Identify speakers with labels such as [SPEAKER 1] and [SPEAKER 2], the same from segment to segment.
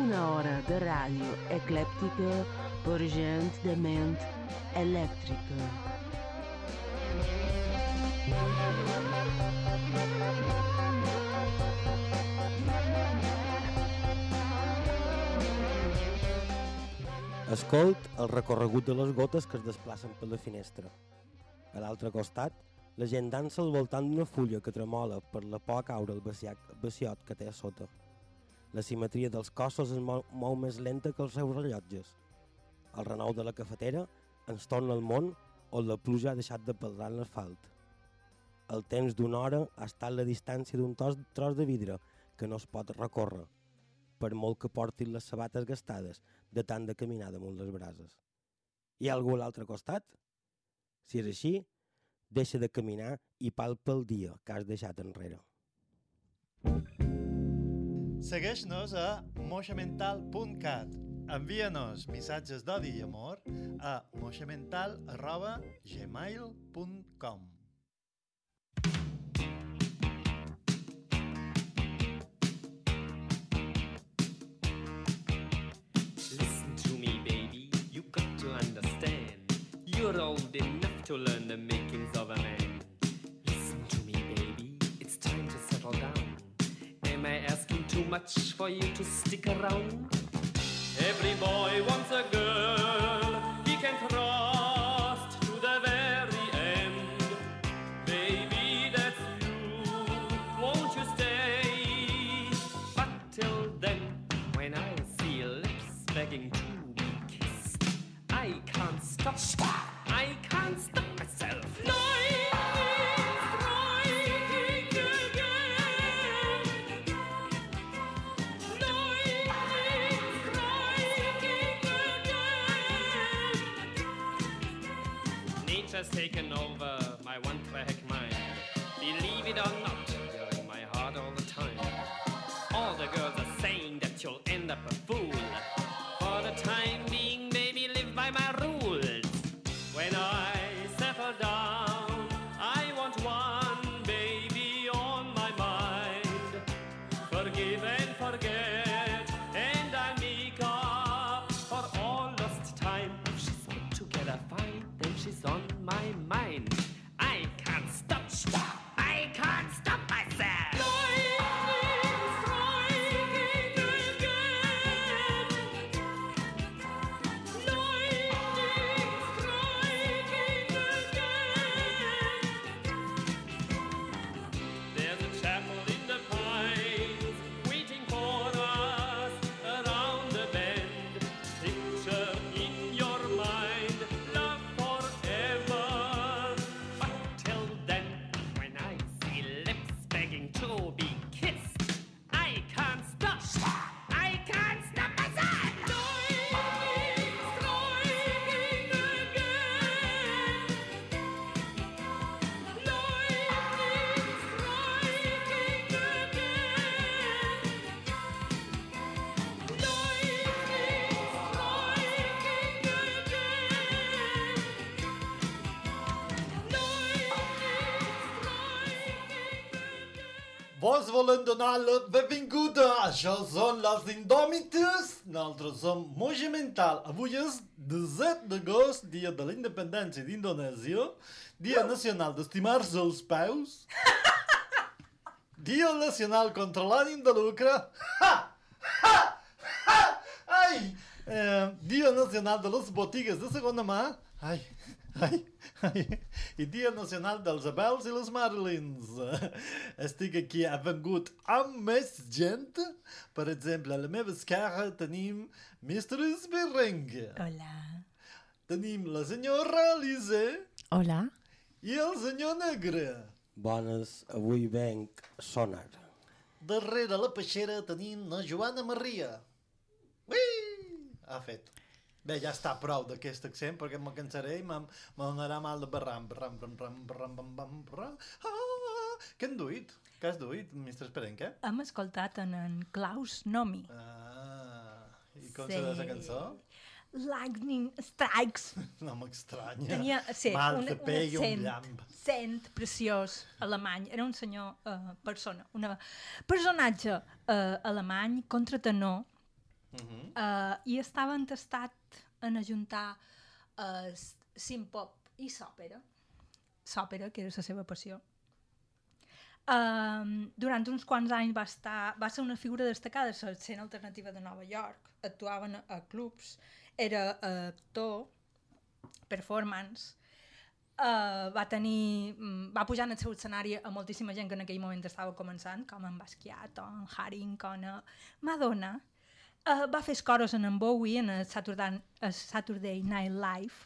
[SPEAKER 1] Una hora de ràdio eclèptica per gent de ment elèctrica.
[SPEAKER 2] Escolt el recorregut de les gotes que es desplacen per la finestra. A l'altre costat, la gent dansa al voltant d'una fulla que tremola per la por a caure el baciac, baciot que té a sota. La simetria dels cossos es mou, mou més lenta que els seus rellotges. El renou de la cafetera ens torna al món on la pluja ha deixat de peldar en l'asfalt. El temps d'una hora ha estat la distància d'un tos- tros de vidre que no es pot recórrer, per molt que portin les sabates gastades de tant de caminar damunt les brases. Hi ha algú a l'altre costat? Si és així, deixa de caminar i palpa el dia que has deixat enrere.
[SPEAKER 3] Segueix-nos a moixamental.cat. Envia-nos missatges d'odi i amor a moixamental.gmail.com
[SPEAKER 4] Listen to me, baby, you got to understand. You're old enough to learn the makings of a man. Listen to me, baby, it's time to settle down. Am I asking too much for you to stick around? Every boy wants a girl he can trust to the very end. Baby, that's you. Won't you stay? But till then, when I see your lips begging to be kissed, I can't stop. I can't stop myself. Nature's taken over my one track mind. Believe it or not, you're in my heart all the time. All the girls are saying that you'll end up a fool. For the time being, baby, live by my rules. When I settle down, I want one baby on my mind. Forgive and forget, and I make up for all lost time. If she's put together fine, then she's on my mind. I can't stop, stop. I can't stop myself. There's a chapel in the pines waiting for us around the bend. Picture in your mind, love forever. But till then, when I see lips begging to be kissed, I can't stop. I can't stop myself.
[SPEAKER 3] Vos volem donar la benvinguda. Això són les Indòmites. Nosaltres som Moja Mental. Avui és 17 d'agost, dia de la independència d'Indonèsia, dia nacional d'estimar-se els peus, dia nacional contra l'ànim de lucre, ha! Ha! Ha! Ai! Eh, dia nacional de les botigues de segona mà, ai, Ai, ai, i Dia Nacional dels Abels i les Marlins. Estic aquí avengut amb més gent. Per exemple, a la meva esquerra tenim Mr. Sberring.
[SPEAKER 5] Hola.
[SPEAKER 3] Tenim la senyora Lise.
[SPEAKER 6] Hola.
[SPEAKER 3] i el senyor Negre.
[SPEAKER 2] Bones, avui venc sonar.
[SPEAKER 3] Darrere la peixera tenim la Joana Maria. Ui! Ha fet. Bé, ja està prou d'aquest accent perquè me cansaré i me'n me donarà mal de barram, barram, barram, barram, barram, barram, barram, barram. Ah, què han duit? Què has duit, Mr. Esperenc, eh?
[SPEAKER 7] Hem escoltat en, en Klaus Nomi.
[SPEAKER 3] Ah, i com sí. serà la cançó?
[SPEAKER 7] Lightning Strikes.
[SPEAKER 3] No m'estranya.
[SPEAKER 7] Tenia sí,
[SPEAKER 3] Mal,
[SPEAKER 7] un,
[SPEAKER 3] te
[SPEAKER 7] un
[SPEAKER 3] pegui un
[SPEAKER 7] accent,
[SPEAKER 3] llamp.
[SPEAKER 7] accent preciós alemany. Era un senyor, eh, persona, una personatge eh, alemany, contratenor,
[SPEAKER 3] Uh -huh.
[SPEAKER 7] eh, i estava entestat en ajuntar eh, simpop i sòpera, sòpera, que era la seva passió. Um, durant uns quants anys va, estar, va ser una figura destacada a la escena alternativa de Nova York. Actuaven a, a clubs, era eh, actor, performance, Uh, va tenir, mm, va pujar en el seu escenari a moltíssima gent que en aquell moment estava començant, com en Basquiat, o en Haring, o en eh, Madonna, Uh, va fer escores en en Bowie en el Saturday, el Saturday Night Live.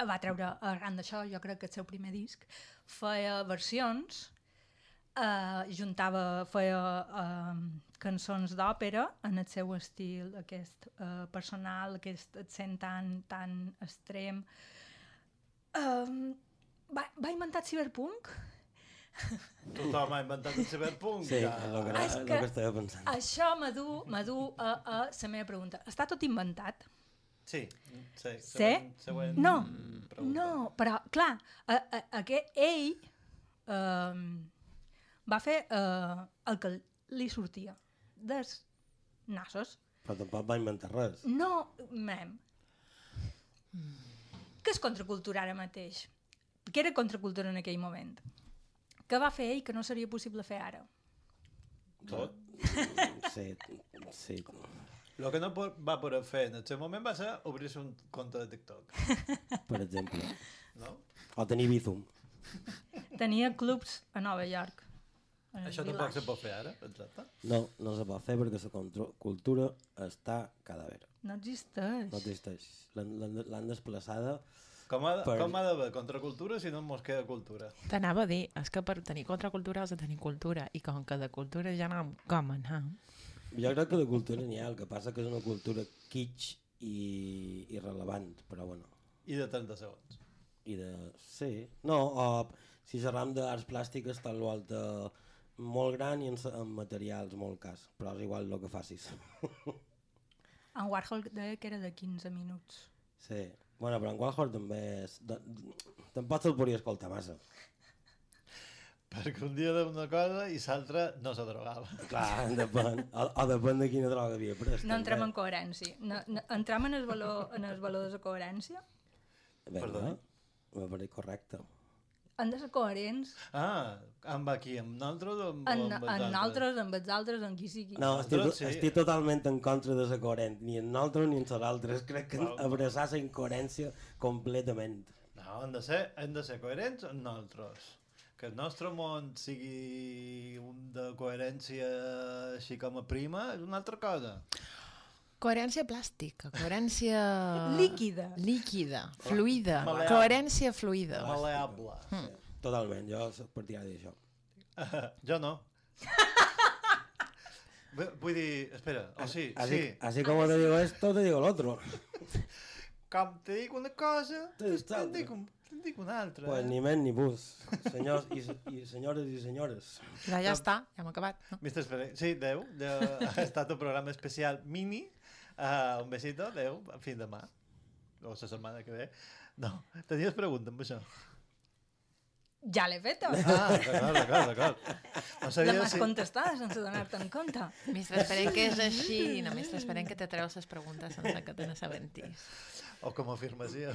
[SPEAKER 7] Eh, Va treure, arran d'això, jo crec que el seu primer disc, feia versions, uh, juntava, feia uh, cançons d'òpera en el seu estil aquest uh, personal, aquest accent tan, tan extrem. Um, va, va inventar el ciberpunk?
[SPEAKER 3] Tothom ha inventat el ciberpunk.
[SPEAKER 2] Sí,
[SPEAKER 3] ja.
[SPEAKER 2] és el que,
[SPEAKER 7] Ah,
[SPEAKER 2] és
[SPEAKER 7] és
[SPEAKER 2] el
[SPEAKER 7] que-
[SPEAKER 2] que estava pensant.
[SPEAKER 7] Això m'adu m'adu a, a la meva pregunta. Està tot inventat?
[SPEAKER 3] Sí, sí.
[SPEAKER 7] Sé?
[SPEAKER 3] Següent,
[SPEAKER 7] No,
[SPEAKER 3] següent pregunta.
[SPEAKER 7] No, però, clar, a, a, a que ell eh, va fer eh, el que li sortia dels nassos.
[SPEAKER 2] Però tampoc va inventar res.
[SPEAKER 7] No, mem. Que és contracultura ara mateix? Que era contracultura en aquell moment? Que va fer ell que no seria possible fer ara?
[SPEAKER 3] Tot.
[SPEAKER 2] Sí, Eh, sí.
[SPEAKER 3] El que no po- va poder fer en el seu moment va ser obrir-se un compte de TikTok,
[SPEAKER 2] Per exemple.
[SPEAKER 3] no?
[SPEAKER 2] O tenir Bizum.
[SPEAKER 7] Tenia clubs a Nova York. en el
[SPEAKER 3] Això tampoc
[SPEAKER 7] Village.
[SPEAKER 3] se pot fer ara, exacte.
[SPEAKER 2] No, no se pot fer perquè la contro- cultura està cadàver.
[SPEAKER 7] No existeix.
[SPEAKER 2] No existeix. L'han- L'han l'han desplaçada.
[SPEAKER 3] Com ha,
[SPEAKER 2] Per-
[SPEAKER 3] per... com ha d'haver contracultura si no mos queda cultura?
[SPEAKER 6] T'anava a dir, és que per tenir contracultura has de tenir cultura, i com que de cultura ja anem com anem,
[SPEAKER 2] Jo crec que de cultura n'hi ha, el que passa que és una cultura kitsch i irrelevant, però bueno.
[SPEAKER 3] I de 30 segons.
[SPEAKER 2] I de... Sí. No, o si xerram d'arts plàstiques tal o alta molt gran i en, sa- en materials molt cas, però és igual el que facis.
[SPEAKER 7] En Warhol deia que era de 15 minuts.
[SPEAKER 2] Sí. Bueno, però en Warhol també és... De... Tampoc se'l podria escoltar massa.
[SPEAKER 3] Perquè un dia de una cosa i l'altra no se drogava.
[SPEAKER 2] Clar, depèn. O, o depèn de quina droga havia pres.
[SPEAKER 7] No entrem en
[SPEAKER 2] també.
[SPEAKER 7] coherència. No, no, entrem en el valor, en el valor de la coherència.
[SPEAKER 2] Vinga,
[SPEAKER 3] Perdoni.
[SPEAKER 2] m'ha parit correcte.
[SPEAKER 7] Hem de ser coherents
[SPEAKER 3] Ah, amb aquí, amb nosaltres o amb, amb
[SPEAKER 7] en,
[SPEAKER 3] els
[SPEAKER 7] en
[SPEAKER 3] altres?
[SPEAKER 7] nosaltres, amb els altres, amb qui sigui.
[SPEAKER 2] No, estic,
[SPEAKER 3] Nosaltres sí.
[SPEAKER 2] sí. estic totalment en contra de la coherent, ni en nosaltres ni en les altres. Crec que
[SPEAKER 3] Val.
[SPEAKER 2] abraçar la incoherència completament.
[SPEAKER 3] No, hem de ser, hem de ser coherents amb nosaltres. Que el nostre món sigui un de coherència així com a prima és una altra cosa.
[SPEAKER 6] Coherència plàstica, coherència...
[SPEAKER 7] Líquida.
[SPEAKER 6] Líquida, fluida,
[SPEAKER 3] Maleable.
[SPEAKER 6] coherència fluida.
[SPEAKER 3] Maleable.
[SPEAKER 2] Totalment, jo soc partidari d'això.
[SPEAKER 3] jo no. Bé, Vull dir, espera, o sí,
[SPEAKER 2] Así,
[SPEAKER 3] sí.
[SPEAKER 2] así como te digo esto, te digo lo otro.
[SPEAKER 3] Com te dic una cosa,
[SPEAKER 2] Te dic
[SPEAKER 3] te'n
[SPEAKER 2] l'altra.
[SPEAKER 3] dic, un, te'n dic una altra. eh?
[SPEAKER 2] Pues ni men ni bus. Senyors i, se- i senyores i senyores.
[SPEAKER 6] Ja, ja està, ja hem acabat. No?
[SPEAKER 3] Mr. Esperenc, sí, adeu. Ja ha estat un programa especial mini. Uh, un besito, adeu. Fins demà. O la setmana que ve. No, tenies pregunta amb això.
[SPEAKER 7] Ja l'he feta.
[SPEAKER 3] Ah, d'acord, d'acord, d'acord. Ah, No
[SPEAKER 7] La
[SPEAKER 3] sabia
[SPEAKER 7] m'has contestat sense donar-te'n compte.
[SPEAKER 6] Mestre, esperem que és així. No, mestre, esperem que te treus les preguntes sense que te n'assabentis.
[SPEAKER 3] O com a afirmació.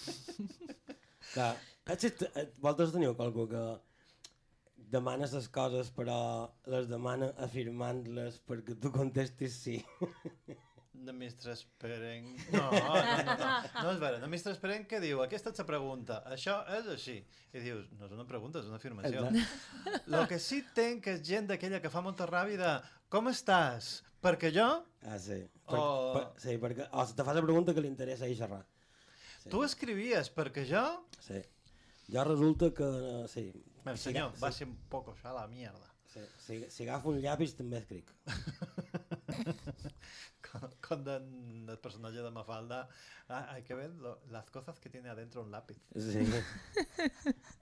[SPEAKER 2] Clar, existe, eh, vosaltres teniu qualcú que demana les coses però les demana afirmant-les perquè tu contestis sí.
[SPEAKER 3] De Mr. Esperenc... No, no, no, no. No és vera. De Mr. Esperenc que diu, aquesta és la pregunta, això és així. I dius, no és una pregunta, és una afirmació. El que sí tenc és gent d'aquella que fa molta ràbia de com estàs? Perquè jo
[SPEAKER 2] Ah, sí. Per,
[SPEAKER 3] O-
[SPEAKER 2] per, sí, perquè o se te fa la pregunta que li interessa i xerrar. Sí.
[SPEAKER 3] Tu escrivies, perquè jo...
[SPEAKER 2] Sí. Jo resulta que... eh, sí.
[SPEAKER 3] El
[SPEAKER 2] Si
[SPEAKER 3] senyor,
[SPEAKER 2] aga-
[SPEAKER 3] va
[SPEAKER 2] si-
[SPEAKER 3] ser un poc a la mierda.
[SPEAKER 2] Sí, si, si agafo un llapis també escric.
[SPEAKER 3] Con, con den- el personaje de Mafalda. Ah, hay que ver lo- las cosas que tiene adentro un lápiz.
[SPEAKER 2] Sí.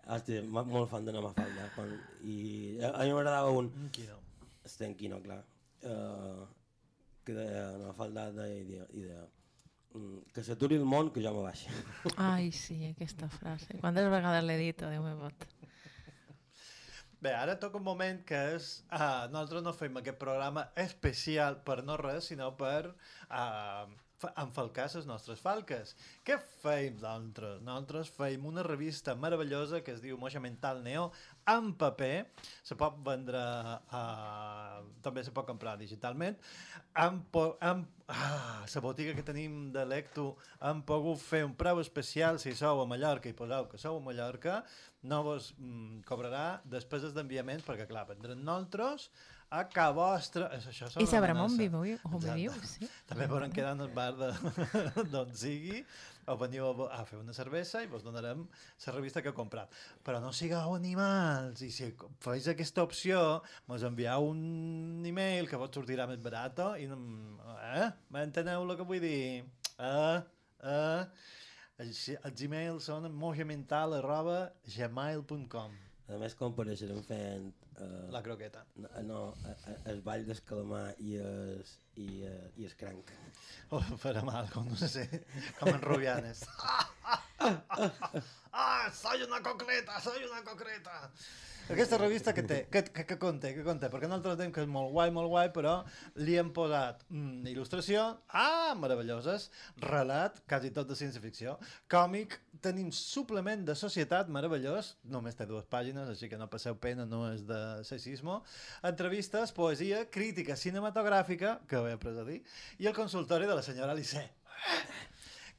[SPEAKER 2] Hòstia, mo- molt fan de Nama Falda. Quan... I a, a mi m'agradava un...
[SPEAKER 3] Un quino.
[SPEAKER 2] Estem aquí, no, clar. Uh, que deia Nama Falda deia, i deia, i deia mm, que s'aturi el món que jo me baixi.
[SPEAKER 6] Ai, sí, aquesta frase. Quantes vegades l'he dit, oh, Déu meu vot.
[SPEAKER 3] Bé, ara toca un moment que és... Ah, nosaltres no fem aquest programa especial per no res, sinó per ah, fa- enfalcar les nostres falques. Què feim nosaltres? Nosaltres feim una revista meravellosa que es diu Moixa Mental Neo en paper. Se pot vendre... Ah, també se pot comprar digitalment. Hem, po hem, ah, la botiga que tenim de Lecto hem pogut fer un preu especial si sou a Mallorca i poseu que sou a Mallorca no vos mm, cobrarà despeses d'enviament perquè clar, vendran nosaltres a ca vostra... És Això
[SPEAKER 6] I
[SPEAKER 3] sona
[SPEAKER 6] sabrem on
[SPEAKER 3] d'amenaça.
[SPEAKER 6] viviu, on
[SPEAKER 3] Exacte.
[SPEAKER 6] viviu, sí.
[SPEAKER 3] També
[SPEAKER 6] Mm,
[SPEAKER 3] podran quedar en el bar de, d'on sigui o veniu a, bo- a fer una cervesa i vos donarem la revista que heu comprat. Però no sigueu animals i si co- feis aquesta opció mos envieu un e-mail que vos sortirà més barat oh, i... no- Eh? M'enteneu el que vull dir? Eh? Eh? Els, els e-mails són mojamentals arroba gmail.com
[SPEAKER 2] A més, compareixerem fent... Uh,
[SPEAKER 3] La croqueta.
[SPEAKER 2] No, no a- a- el ball d'escalamar i es, i, eh, i es cranc.
[SPEAKER 3] O farem algo, no sé, com en Rubianes. ah, soy una concreta, soy una concreta. Aquesta revista que té, que, que, que conté, que conté, perquè nosaltres diem que és molt guai, molt guai, però li hem posat mm, il·lustració, ah, meravelloses, relat, quasi tot de ciència-ficció, còmic, tenim suplement de societat, meravellós, només té dues pàgines, així que no passeu pena, no és de sexisme, entrevistes, poesia, crítica cinematogràfica, que ho he après a dir, i el consultori de la senyora Lissé,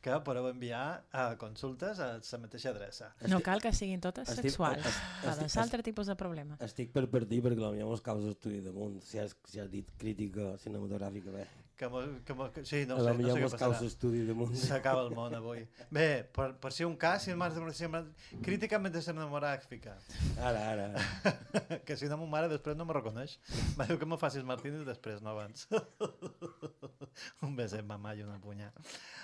[SPEAKER 3] que podeu enviar a consultes a la mateixa adreça.
[SPEAKER 6] No cal que siguin totes
[SPEAKER 2] estic-
[SPEAKER 6] sexuals.
[SPEAKER 2] es-
[SPEAKER 6] Per
[SPEAKER 2] estic-
[SPEAKER 6] és altre tipus de problema.
[SPEAKER 2] Estic per partir perquè potser mos causa estudi damunt. Si has, si has dit crítica cinematogràfica, bé.
[SPEAKER 3] Que mos, que mos, que, sí, no ho sé, no
[SPEAKER 2] potser
[SPEAKER 3] sé què
[SPEAKER 2] mos causa
[SPEAKER 3] passarà.
[SPEAKER 2] estudi damunt.
[SPEAKER 3] S'acaba el món avui. Bé, per, per si un cas, si mare si mar... crítica mentre se'n demogràfica.
[SPEAKER 2] Ara, ara. ara.
[SPEAKER 3] que si no, ma mare després no me reconeix. Va dir que me facis Martínez després, no abans. un beset, mamà, i una punyà.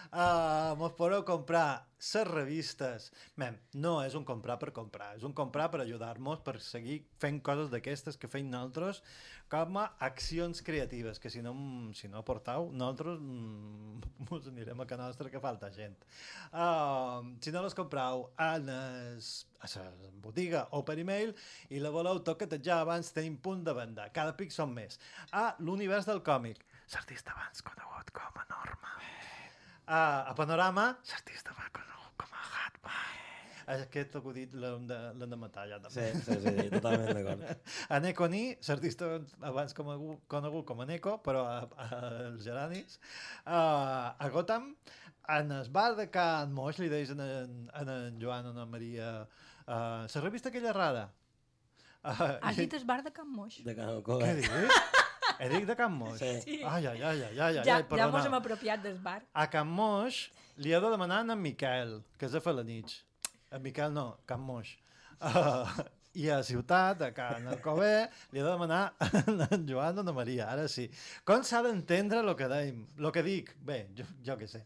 [SPEAKER 3] Uh, mos podeu comprar les revistes. Mem, no és un comprar per comprar, és un comprar per ajudar-nos, per seguir fent coses d'aquestes que feim nosaltres com a accions creatives, que si no, mm, si no portau, nosaltres mm, mos anirem a que nostra que falta gent. Uh, si no les comprau a les, a la botiga o per e-mail i la voleu toquetejar abans tenim punt de venda. Cada pic són més. A l'univers del còmic. L'artista abans conegut com a Norma. A, a Panorama. L'artista abans conegut com a Hatman. Aquest acudit l'hem de, l'hem de matar ja
[SPEAKER 2] Sí,
[SPEAKER 3] també.
[SPEAKER 2] sí, sí, sí totalment d'acord.
[SPEAKER 3] A Neko Ni, l'artista abans com a, conegut com a Neko, però a, a, als Geranis, a, a Gotham, en el bar de Can Moix, li deies en, en, en, en Joan, en, en Maria, la revista aquella rara. Uh,
[SPEAKER 7] Has dit el bar de Can Moix?
[SPEAKER 2] De Can Alcoa.
[SPEAKER 3] Què dius? Eric de Can Moix?
[SPEAKER 2] Sí.
[SPEAKER 7] Sí.
[SPEAKER 3] Ai, ai, ai, ai, ai, ai,
[SPEAKER 7] Ja, ja, ja
[SPEAKER 3] perdona.
[SPEAKER 7] mos hem apropiat del bar.
[SPEAKER 3] A Can Moix li he de demanar a en Miquel, que és de Felanitx. En Miquel no, Can Moix. Uh, I a Ciutat, a Can Alcover, li he de demanar a en Joan o a Maria, ara sí. Com s'ha d'entendre el que, deim, lo que dic? Bé, jo, jo què sé.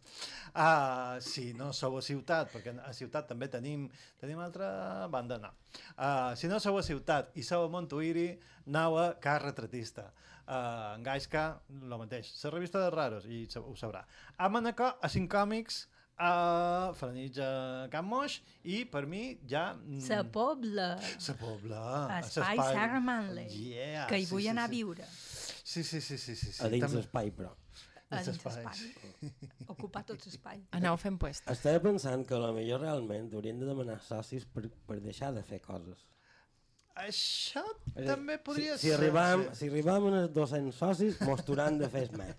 [SPEAKER 3] Uh, si no sou a Ciutat, perquè a Ciutat també tenim, tenim altra banda, no. Uh, si no sou a Ciutat i sou a Montuïri, anau a Car Retratista. Uh, en Gaisca, el mateix. La revista de raros, i sa- ho sabrà. A Manacor, a 5 còmics, a Franitja Can Moix, i per mi ja... mm,
[SPEAKER 7] Sa pobla.
[SPEAKER 3] Sa pobla. a
[SPEAKER 7] Espai
[SPEAKER 3] s'espai.
[SPEAKER 7] Sarah Manley,
[SPEAKER 3] Yeah,
[SPEAKER 7] que hi
[SPEAKER 3] sí,
[SPEAKER 7] vull
[SPEAKER 3] sí,
[SPEAKER 7] anar
[SPEAKER 3] sí.
[SPEAKER 7] a viure.
[SPEAKER 3] Sí, sí, sí, sí, sí, sí.
[SPEAKER 2] A dins
[SPEAKER 3] també-
[SPEAKER 2] l'espai, però.
[SPEAKER 3] dins
[SPEAKER 7] Dins
[SPEAKER 3] l'espai.
[SPEAKER 7] l'espai. Ocupar tot l'espai.
[SPEAKER 6] Anau fent puestos.
[SPEAKER 2] Estava pensant que potser realment haurien de demanar socis per, per deixar de fer coses.
[SPEAKER 3] Això
[SPEAKER 2] És a dir,
[SPEAKER 3] també podria
[SPEAKER 2] Eh, si, si
[SPEAKER 3] ser.
[SPEAKER 2] Arribam,
[SPEAKER 3] sí.
[SPEAKER 2] Si arribam a uns 200 socis, mos t'hauran de fer esmai,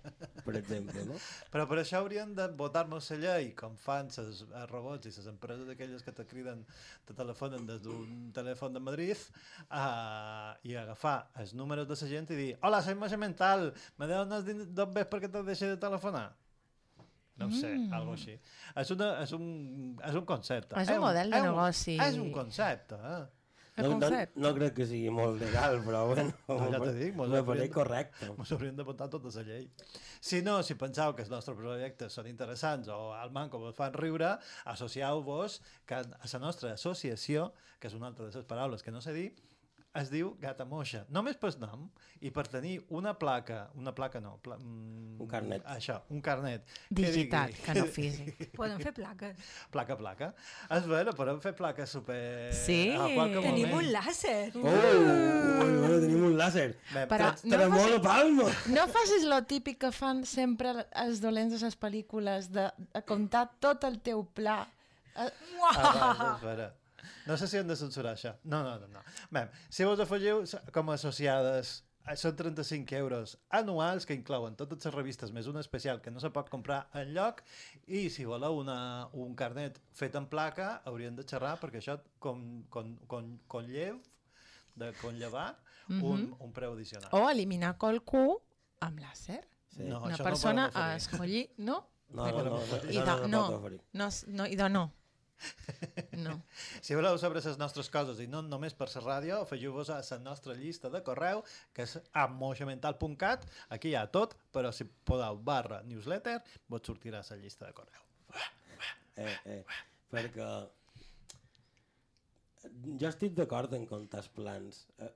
[SPEAKER 2] per exemple, no?
[SPEAKER 3] Però per això haurien de votar-nos la llei, com fan els robots i les empreses aquelles que te criden, te telefonen des d'un telèfon de Madrid, uh, i agafar els números de la gent i dir «Hola, soy Moixa Mental, me dones din- dos vés perquè te deixi de telefonar?» no ho sé, mm. algo així. És, una, és, un, és un concepte. Eh,
[SPEAKER 6] És un model de
[SPEAKER 3] és
[SPEAKER 6] negoci.
[SPEAKER 3] És un concepte, eh?
[SPEAKER 6] El
[SPEAKER 2] no,
[SPEAKER 6] concepte.
[SPEAKER 2] no crec que sigui molt legal, però bueno,
[SPEAKER 3] No, ja
[SPEAKER 2] me-
[SPEAKER 3] t'ho dic, mos
[SPEAKER 2] me
[SPEAKER 3] hauríem
[SPEAKER 2] pareix
[SPEAKER 3] de-
[SPEAKER 2] correcte.
[SPEAKER 3] Ens hauríem d'apuntar tota la llei. Si no, si penseu que els nostres projectes són interessants o al manco vos fan riure, associeu-vos que a la nostra associació, que és una altra de les paraules que no sé dir, es diu Gata Moixa. Només pel nom i per tenir una placa, una placa no, pla, mm,
[SPEAKER 2] Un carnet.
[SPEAKER 3] Això, un carnet. que
[SPEAKER 6] Digital,
[SPEAKER 3] digui-
[SPEAKER 6] que no físic.
[SPEAKER 7] Poden fer plaques.
[SPEAKER 3] Placa, placa. És vera, podem fer plaques super...
[SPEAKER 6] Sí.
[SPEAKER 3] A qualsevol
[SPEAKER 7] Tenim
[SPEAKER 3] moment.
[SPEAKER 7] un làser.
[SPEAKER 2] Oh, ui, ui, tenim un làser.
[SPEAKER 3] Bé,
[SPEAKER 6] Però
[SPEAKER 3] però...
[SPEAKER 6] no
[SPEAKER 2] Tremola
[SPEAKER 6] facis,
[SPEAKER 2] palma!
[SPEAKER 6] no facis lo típic que fan sempre els dolents de les pel·lícules, de, de comptar tot el teu pla. Eh,
[SPEAKER 3] Ah, va, no, no sé si hem de censurar això. No, no, no. no. Bé, si vos afegiu s- com a associades, eh, són 35 euros anuals que inclouen totes les revistes més un especial que no se pot comprar en lloc i si voleu una, un carnet fet en placa hauríem de xerrar perquè això con, con, con, conllev de conllevar mm -hmm. un, un preu addicional.
[SPEAKER 6] O eliminar qualcú amb làser.
[SPEAKER 2] Sí.
[SPEAKER 3] No,
[SPEAKER 6] Una
[SPEAKER 3] això
[SPEAKER 6] persona
[SPEAKER 3] no podem
[SPEAKER 6] a
[SPEAKER 3] oferir.
[SPEAKER 6] escollir, no?
[SPEAKER 2] No, no, no, no,
[SPEAKER 6] I
[SPEAKER 2] no,
[SPEAKER 6] de,
[SPEAKER 2] no, no,
[SPEAKER 6] no,
[SPEAKER 2] pot oferir.
[SPEAKER 6] no, s- no, i de no. No.
[SPEAKER 3] Si voleu saber les nostres coses i no només per la ràdio, afegiu-vos a la nostra llista de correu, que és amoixamental.cat. Aquí hi ha tot, però si podeu barra newsletter, vos sortirà la llista de correu.
[SPEAKER 2] Eh, eh, perquè jo estic d'acord en comptar els plans eh,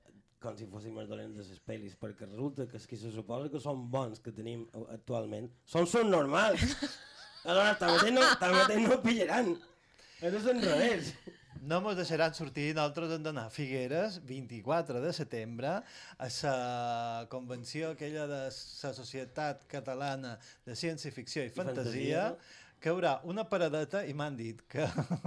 [SPEAKER 2] com si fóssim els dolents de les pel·lis, perquè resulta que els que se suposa que són bons que tenim a- actualment són són normals. Aleshores, també no, també no pillaran. Això és enrevés.
[SPEAKER 3] No mos deixaran sortir, nosaltres hem d'anar a Figueres, 24 de setembre, a la convenció aquella de la Societat Catalana de Ciència-Ficció i Fantasia,
[SPEAKER 2] Fantasia.
[SPEAKER 3] que hi haurà una paradeta i m'han dit que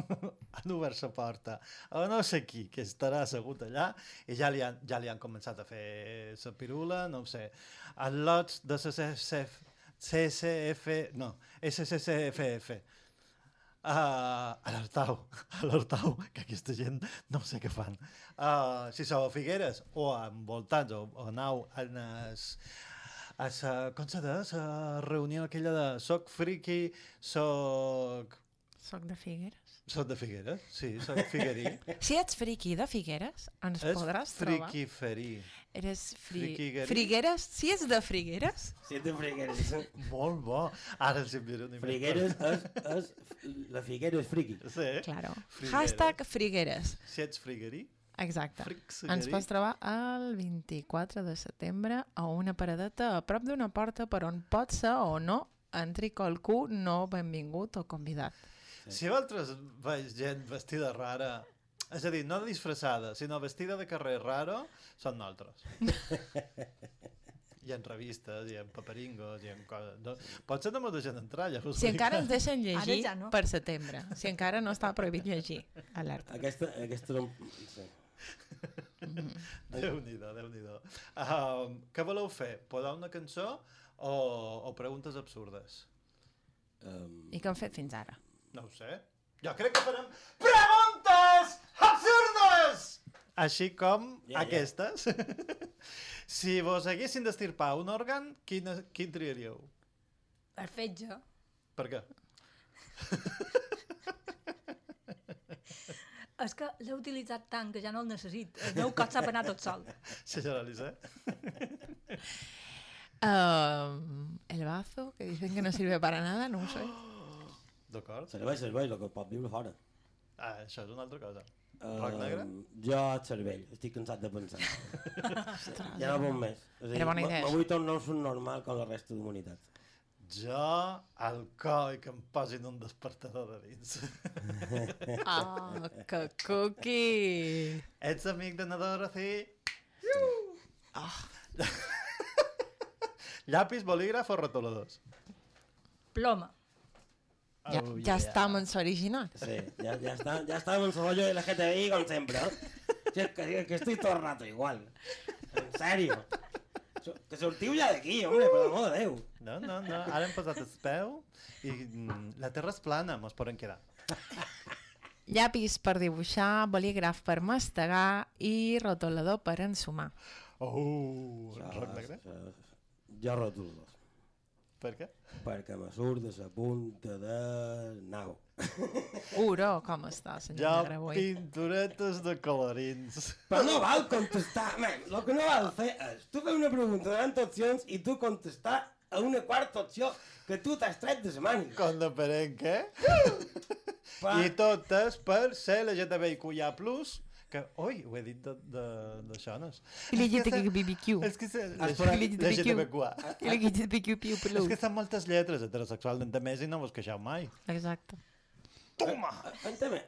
[SPEAKER 3] han obert la porta a no sé qui, que estarà assegut allà, i ja li han, ja li han començat a fer la pirula, no ho sé. En lots de CCF, CCF, no, SCCFF. Uh, a l'Hortau, a l'Hortau, que aquesta gent no sé què fan. Uh, si sou a Figueres o envoltats o, o anau en es, a sa, com se deia, la reunió aquella de soc friki, soc...
[SPEAKER 6] Soc de Figueres.
[SPEAKER 3] Soc de Figueres, sí, soc figuerí.
[SPEAKER 6] Si ets friqui de Figueres, ens
[SPEAKER 3] És
[SPEAKER 6] podràs trobar.
[SPEAKER 3] friquiferí.
[SPEAKER 6] Eres fri...
[SPEAKER 3] Friquiguerí.
[SPEAKER 6] Frigueres? Si ets de Frigueres?
[SPEAKER 2] Sí, de Figueres.
[SPEAKER 3] Molt bo. Ara els enviaré un email.
[SPEAKER 2] Figueres és, és... La Figueres friqui.
[SPEAKER 3] Sí.
[SPEAKER 6] Claro.
[SPEAKER 3] Frigueres.
[SPEAKER 6] Hashtag Frigueres.
[SPEAKER 3] Si ets friguerí,
[SPEAKER 6] Exacte. Ens
[SPEAKER 3] friguerí.
[SPEAKER 6] pots trobar el 24 de setembre a una paradeta a prop d'una porta per on pot ser o no entri qualcú no benvingut o convidat.
[SPEAKER 3] Si vosaltres veus gent vestida rara, és a dir, no disfressada, sinó vestida de carrer raro, són nosaltres. Hi ha revistes, hi ha paperingos, hi ha coses... No, potser no m'ho deixen entrar, ja us
[SPEAKER 6] Si
[SPEAKER 3] ho dic.
[SPEAKER 6] encara ens deixen llegir
[SPEAKER 7] ja no.
[SPEAKER 6] per setembre, si encara no està prohibit llegir a l'art.
[SPEAKER 2] Aquesta, aquesta era un... Sí.
[SPEAKER 3] Déu-n'hi-do, Déu-n'hi-do. Um, què voleu fer? Podar una cançó o, o preguntes absurdes?
[SPEAKER 2] Um,
[SPEAKER 6] I què han fet fins ara?
[SPEAKER 3] No ho sé. Jo crec que farem preguntes absurdes! Així com
[SPEAKER 2] Ja, ja.
[SPEAKER 3] ja, aquestes. si vos haguessin d'estirpar un òrgan, quin, quin triaríeu?
[SPEAKER 7] Per fetge.
[SPEAKER 3] Per què?
[SPEAKER 7] És que l'he utilitzat tant que ja no el necessit. El meu cos sap anar tot sol.
[SPEAKER 3] Senyora eh? Lisa?
[SPEAKER 6] Um, el bazo, que dicen que no sirve para nada, no ho sé.
[SPEAKER 3] D'acord.
[SPEAKER 2] servei, servei, el que pot viure fora.
[SPEAKER 3] Ah, això és una altra cosa. Roc negre?
[SPEAKER 2] Um, jo al cervell, estic cansat de pensar. ja no puc més. O
[SPEAKER 6] Era bona
[SPEAKER 2] m-
[SPEAKER 6] idea,
[SPEAKER 2] M'avui torno a un subnormal com la resta d'humanitat.
[SPEAKER 3] Jo al coi que em posin un despertador de dins.
[SPEAKER 6] Ah, que cookie!
[SPEAKER 3] Ets amic de na Dorothy?
[SPEAKER 6] Ah.
[SPEAKER 3] Llapis, bolígraf o retoladors?
[SPEAKER 7] Ploma.
[SPEAKER 6] Ja,
[SPEAKER 3] Oh, yeah.
[SPEAKER 6] ja estem en s'originat.
[SPEAKER 2] Sí, ja, ja, està, ja està amb el rollo de la GTI com sempre. Sí, que, que estoy todo el rato igual. En serio. So- Que sortiu ja d'aquí, hombre, per l'amor de Déu.
[SPEAKER 3] No, no, no. Ara hem posat el peu i mm, la terra és plana, mos poden quedar.
[SPEAKER 6] Llapis per dibuixar, bolígraf per mastegar i rotolador per ensumar.
[SPEAKER 3] Oh, Uh, roc negre?
[SPEAKER 2] Això- Jo rotulo.
[SPEAKER 3] Per què?
[SPEAKER 2] perquè me surt de la punta de nau.
[SPEAKER 6] Uro, com està, senyor
[SPEAKER 3] Ja,
[SPEAKER 6] ja, Negre,
[SPEAKER 3] pinturetes de colorins.
[SPEAKER 2] Però no val contestar, man. Lo que no val fer és, tu fer una pregunta de 20 opcions i tu contestar a una quarta opció que tu t'has tret de la màniga.
[SPEAKER 3] Con depenent què?
[SPEAKER 2] Pa.
[SPEAKER 3] I totes per ser LGTBIQIA+, que, ui, ho he dit de, de, de xones.
[SPEAKER 6] LGTBIQ.
[SPEAKER 3] És que se-
[SPEAKER 2] Has parat-
[SPEAKER 3] LGTBIQIA. És que
[SPEAKER 6] LGTBIQ+.
[SPEAKER 3] estan moltes lletres heterosexuals d'ente més i no vos queixeu mai.
[SPEAKER 6] Exacte.
[SPEAKER 3] Toma!
[SPEAKER 2] Ah, Entame,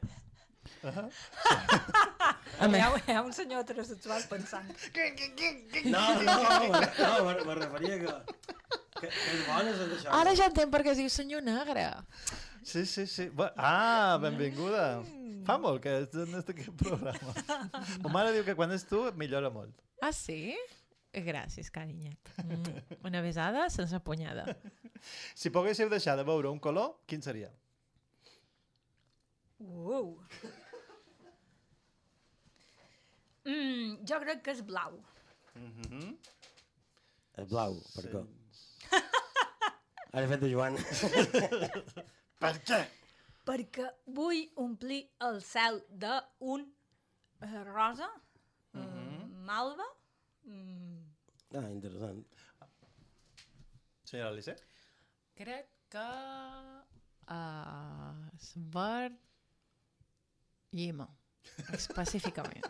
[SPEAKER 6] Home.
[SPEAKER 7] Hi ha, hi ha un senyor heterosexual pensant.
[SPEAKER 2] No, no, me, no, me, me referia que, que, que és bona és això.
[SPEAKER 6] Ara ja entenc per què es diu senyor negre.
[SPEAKER 3] Sí, sí, sí. Bé, Ah, benvinguda.
[SPEAKER 6] Mm.
[SPEAKER 3] Fa molt que és en este aquest programa. Ma mare diu que quan és tu et millora molt.
[SPEAKER 6] Ah, sí? Gràcies, carinyet. Mm, Una besada sense punyada.
[SPEAKER 3] Si poguéssiu deixar de veure un color, quin seria?
[SPEAKER 7] Uau! Mm, jo crec que és blau.
[SPEAKER 2] És blau, per què? Ara he fet de Joan.
[SPEAKER 3] Per què?
[SPEAKER 7] Perquè vull omplir el cel d'un eh, rosa, mm
[SPEAKER 2] Mhm.
[SPEAKER 7] malva, mm,
[SPEAKER 2] Ah, interessant.
[SPEAKER 3] Senyora Alice?
[SPEAKER 6] Crec que... Uh, és verd... Llima. Específicament.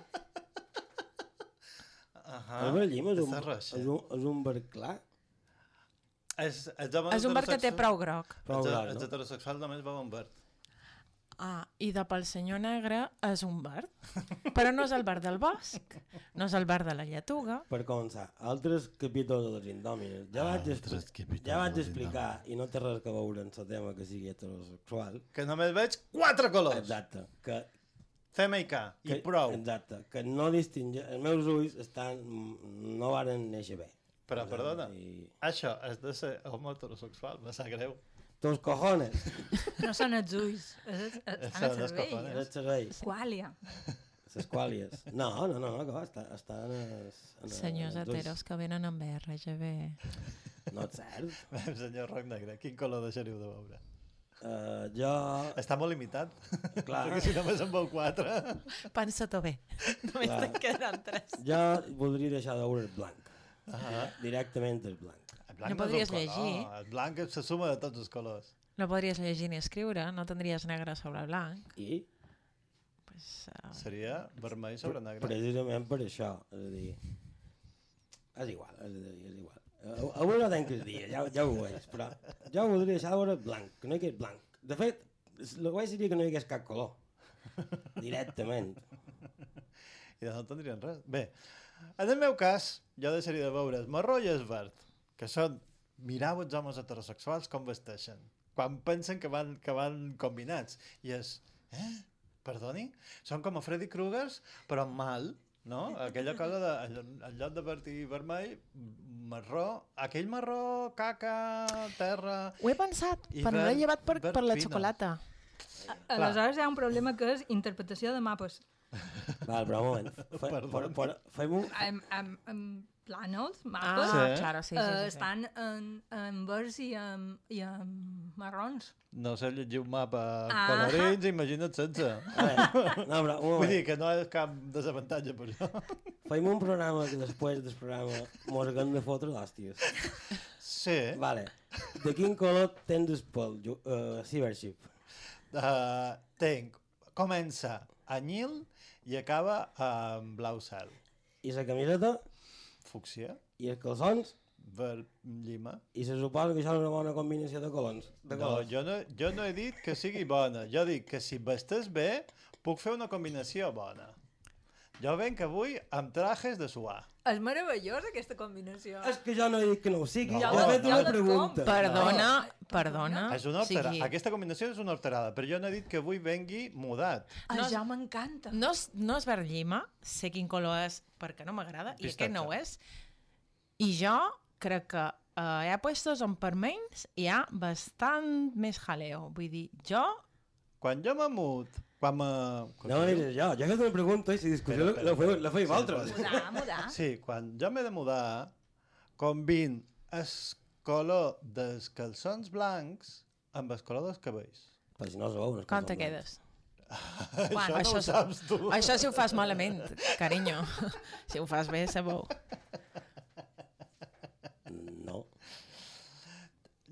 [SPEAKER 2] Ah, el Berllim és un,
[SPEAKER 3] està
[SPEAKER 2] és
[SPEAKER 3] roixa.
[SPEAKER 2] un, és un verd clar.
[SPEAKER 3] És, els homes
[SPEAKER 6] és un verd que té
[SPEAKER 3] heterosexuals-
[SPEAKER 6] prou groc.
[SPEAKER 2] Prou
[SPEAKER 3] els,
[SPEAKER 2] clar,
[SPEAKER 3] els
[SPEAKER 2] no?
[SPEAKER 3] heterosexuals només veuen verd.
[SPEAKER 6] Ah, i de pel senyor negre és un verd. Però no és el verd del bosc, no és el verd de la lletuga.
[SPEAKER 2] Per començar, altres capítols de les indòmines. Ja vaig, expli
[SPEAKER 3] Altres capítols
[SPEAKER 2] ja vaig
[SPEAKER 3] de les
[SPEAKER 2] explicar, i no té res que veure en el tema que sigui heterosexual,
[SPEAKER 3] Que només veig quatre colors.
[SPEAKER 2] exacte, que,
[SPEAKER 3] Fem i K.
[SPEAKER 2] que
[SPEAKER 3] I prou.
[SPEAKER 2] Exacte, que no distingue... Els meus ulls estan, no varen néixer bé.
[SPEAKER 3] Però, perdona,
[SPEAKER 2] I...
[SPEAKER 3] això és de ser home heterosexual, me sap greu.
[SPEAKER 2] Tos cojones,
[SPEAKER 7] no són els ulls, és, és,
[SPEAKER 3] Són
[SPEAKER 7] estan a
[SPEAKER 3] els
[SPEAKER 7] servei.
[SPEAKER 3] cojones.
[SPEAKER 2] eres xerreis.
[SPEAKER 7] Quàlia.
[SPEAKER 2] Les quàlies. No, no, no, no que va, està, està en els... En els-
[SPEAKER 6] Senyors
[SPEAKER 2] en els ulls.
[SPEAKER 6] heteros que venen amb RGB.
[SPEAKER 2] No és cert.
[SPEAKER 3] Senyor Roc Negre, quin color deixaríeu de veure?
[SPEAKER 2] Uh, jo...
[SPEAKER 3] Està molt limitat.
[SPEAKER 2] Clar.
[SPEAKER 3] Perquè si només en veu quatre...
[SPEAKER 6] Pensa-t'ho bé. Només
[SPEAKER 2] Clar.
[SPEAKER 6] te'n queden tres.
[SPEAKER 2] Jo voldria deixar de veure el blanc. Ah. Directament el blanc.
[SPEAKER 3] El blanc
[SPEAKER 6] No
[SPEAKER 3] és un
[SPEAKER 6] podries
[SPEAKER 3] color,
[SPEAKER 6] llegir.
[SPEAKER 3] El blanc se suma de tots els colors.
[SPEAKER 6] No podries llegir ni escriure, no tindries negre sobre blanc.
[SPEAKER 2] I
[SPEAKER 6] Pues, uh,
[SPEAKER 3] Seria vermell sobre negre.
[SPEAKER 2] precisament per això, és a dir... És igual, és a dir, és igual. Eh, Avui no tenc el dia, ja, ja ho veig, però jo voldria deixar de veure el blanc, que no hi hagués blanc. De fet, el guai seria que no hi hagués cap color. Directament.
[SPEAKER 3] I no tindrien res. Bé, en el meu cas, jo deixaria de veure el marró i el verd, que són mirar els homes heterosexuals com vesteixen, quan pensen que van, que van combinats. I és, eh? Perdoni? Són com a Freddy Krueger, però mal, no? Aquella cosa de, en- en lloc de verd i vermell, marró, aquell marró, caca, terra...
[SPEAKER 6] ho he pensat,
[SPEAKER 3] I
[SPEAKER 6] però no l'he
[SPEAKER 3] verd-
[SPEAKER 6] llevat per,
[SPEAKER 3] verd
[SPEAKER 6] per la
[SPEAKER 3] fina.
[SPEAKER 6] xocolata.
[SPEAKER 7] Aleshores hi ha un problema que és interpretació de mapes.
[SPEAKER 2] Val, però un moment. Fe, per, per, fem un...
[SPEAKER 7] En, en, en plànols,
[SPEAKER 6] Ah,
[SPEAKER 7] mapes,
[SPEAKER 3] Sí.
[SPEAKER 7] sí.
[SPEAKER 6] claro, sí, sí,
[SPEAKER 7] eh,
[SPEAKER 6] sí, sí.
[SPEAKER 7] estan en, en verds i en, i en marrons.
[SPEAKER 3] No sé llegir un mapa ah.
[SPEAKER 7] Ah.
[SPEAKER 3] colorins, imagina't sense.
[SPEAKER 2] A veure, no, però un moment.
[SPEAKER 3] Vull dir que no és cap desavantatge per això.
[SPEAKER 2] Fem un programa que després del programa mos haguem de fotre d'hòsties.
[SPEAKER 3] Sí. Va.
[SPEAKER 2] Vale. De quin color tens el pèl, Ju- eh, Cybership?
[SPEAKER 3] Uh, tenc. Comença a Nil i acaba amb blau cel.
[SPEAKER 2] I la camiseta,
[SPEAKER 3] Fúcsia,
[SPEAKER 2] i els calçons,
[SPEAKER 3] verd llima.
[SPEAKER 2] i se suposa que això és una bona combinació de colons. De
[SPEAKER 3] No,
[SPEAKER 2] colors.
[SPEAKER 3] jo, no, jo no he dit que sigui bona. Jo dic que si vestès bé, puc fer una combinació bona. Jo venc avui amb trajes de suar.
[SPEAKER 7] És meravellosa aquesta combinació.
[SPEAKER 2] És que jo no he dit que no ho sigui,
[SPEAKER 3] No.
[SPEAKER 2] no,
[SPEAKER 3] Jo
[SPEAKER 2] he
[SPEAKER 3] la-
[SPEAKER 2] fet
[SPEAKER 3] jo
[SPEAKER 2] una
[SPEAKER 7] la
[SPEAKER 2] pregunta.
[SPEAKER 7] compro.
[SPEAKER 6] Perdona,
[SPEAKER 7] No.
[SPEAKER 6] perdona.
[SPEAKER 3] És una
[SPEAKER 6] o sigui,
[SPEAKER 3] horterada. Aquesta combinació és una horterada, però jo no he dit que avui vengui mudat.
[SPEAKER 7] Ah,
[SPEAKER 6] No és-
[SPEAKER 7] ja m'encanta.
[SPEAKER 6] No és, no és verd llima, sé quin color és perquè no m'agrada, i
[SPEAKER 3] Pistatge.
[SPEAKER 6] aquest no ho és. I jo crec que eh, hi ha puestos on per menys hi ha bastant més jaleo. Vull dir, jo...
[SPEAKER 3] Quan jo me mut, quan me...
[SPEAKER 2] No me diré jo, jo he fet una pregunta i eh, si discussió
[SPEAKER 3] Espera,
[SPEAKER 2] la, la, feu, la feu
[SPEAKER 3] espera.
[SPEAKER 2] vosaltres.
[SPEAKER 3] Sí,
[SPEAKER 7] Mudar, mudar.
[SPEAKER 3] Sí, quan jo m'he de mudar, combin es color dels calçons blancs amb el color dels cabells.
[SPEAKER 2] Però si no es veuen... els
[SPEAKER 6] Com
[SPEAKER 2] calçons
[SPEAKER 6] te
[SPEAKER 2] blancs.
[SPEAKER 6] quedes?
[SPEAKER 3] això,
[SPEAKER 6] això
[SPEAKER 3] no ho
[SPEAKER 6] és-
[SPEAKER 3] saps tu.
[SPEAKER 6] Això si ho fas malament, carinyo. Si ho fas bé, sabeu.
[SPEAKER 2] No.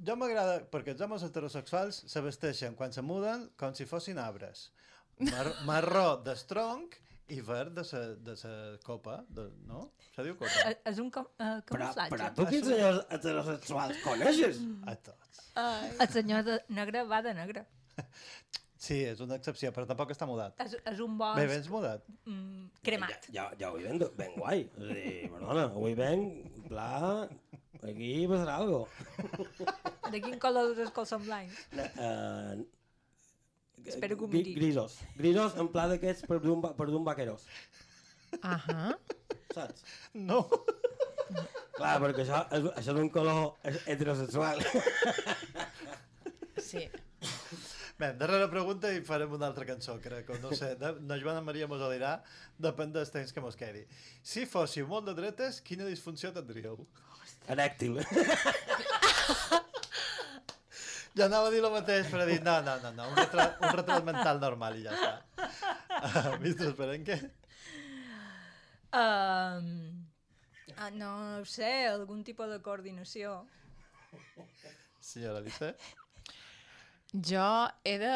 [SPEAKER 3] Jo m'agrada, perquè els homes heterosexuals se vesteixen quan se muden com si fossin arbres. Mar marró del tronc i verd de sa, de sa copa, de, no? Se diu copa?
[SPEAKER 7] Eh, És un com, uh,
[SPEAKER 2] Però,
[SPEAKER 7] camuflatge.
[SPEAKER 2] però tu quins senyors heterosexuals coneixes?
[SPEAKER 3] A tots.
[SPEAKER 7] El senyor de negre va de negre.
[SPEAKER 3] Sí, és una excepció, però tampoc està mudat.
[SPEAKER 7] És, és un bosc
[SPEAKER 3] Bé, ben mudat.
[SPEAKER 7] mm, cremat.
[SPEAKER 2] Ja, ja, ja avui ven, ven guai. És a dir, perdona, avui ven, pla, aquí passarà algo.
[SPEAKER 7] De quin color és el colzón blanc?
[SPEAKER 2] Uh,
[SPEAKER 7] Eh, Espero que ho miri.
[SPEAKER 2] grisos. Grisos en pla d'aquests per d'un va- per d'un vaqueros.
[SPEAKER 6] Ahà.
[SPEAKER 2] Saps?
[SPEAKER 3] No.
[SPEAKER 2] Clar, perquè això és, això és un color he- heterosexual.
[SPEAKER 6] Sí.
[SPEAKER 3] Bé, darrera pregunta i farem una altra cançó, crec, o no sé, de, de Joana Maria mos ho dirà, depèn dels temps que mos quedi. Si fóssiu molt de dretes, quina disfunció tindríeu?
[SPEAKER 2] Erèctil.
[SPEAKER 3] Ja anava a dir el mateix, però he dit, no, no, no, no un, retrat, un retrat mental normal i ja està. Uh, Mistre Esperenque?
[SPEAKER 7] Um, ah, no ho sé, algun tipus de coordinació.
[SPEAKER 3] Senyora Lissé?
[SPEAKER 6] Jo he de,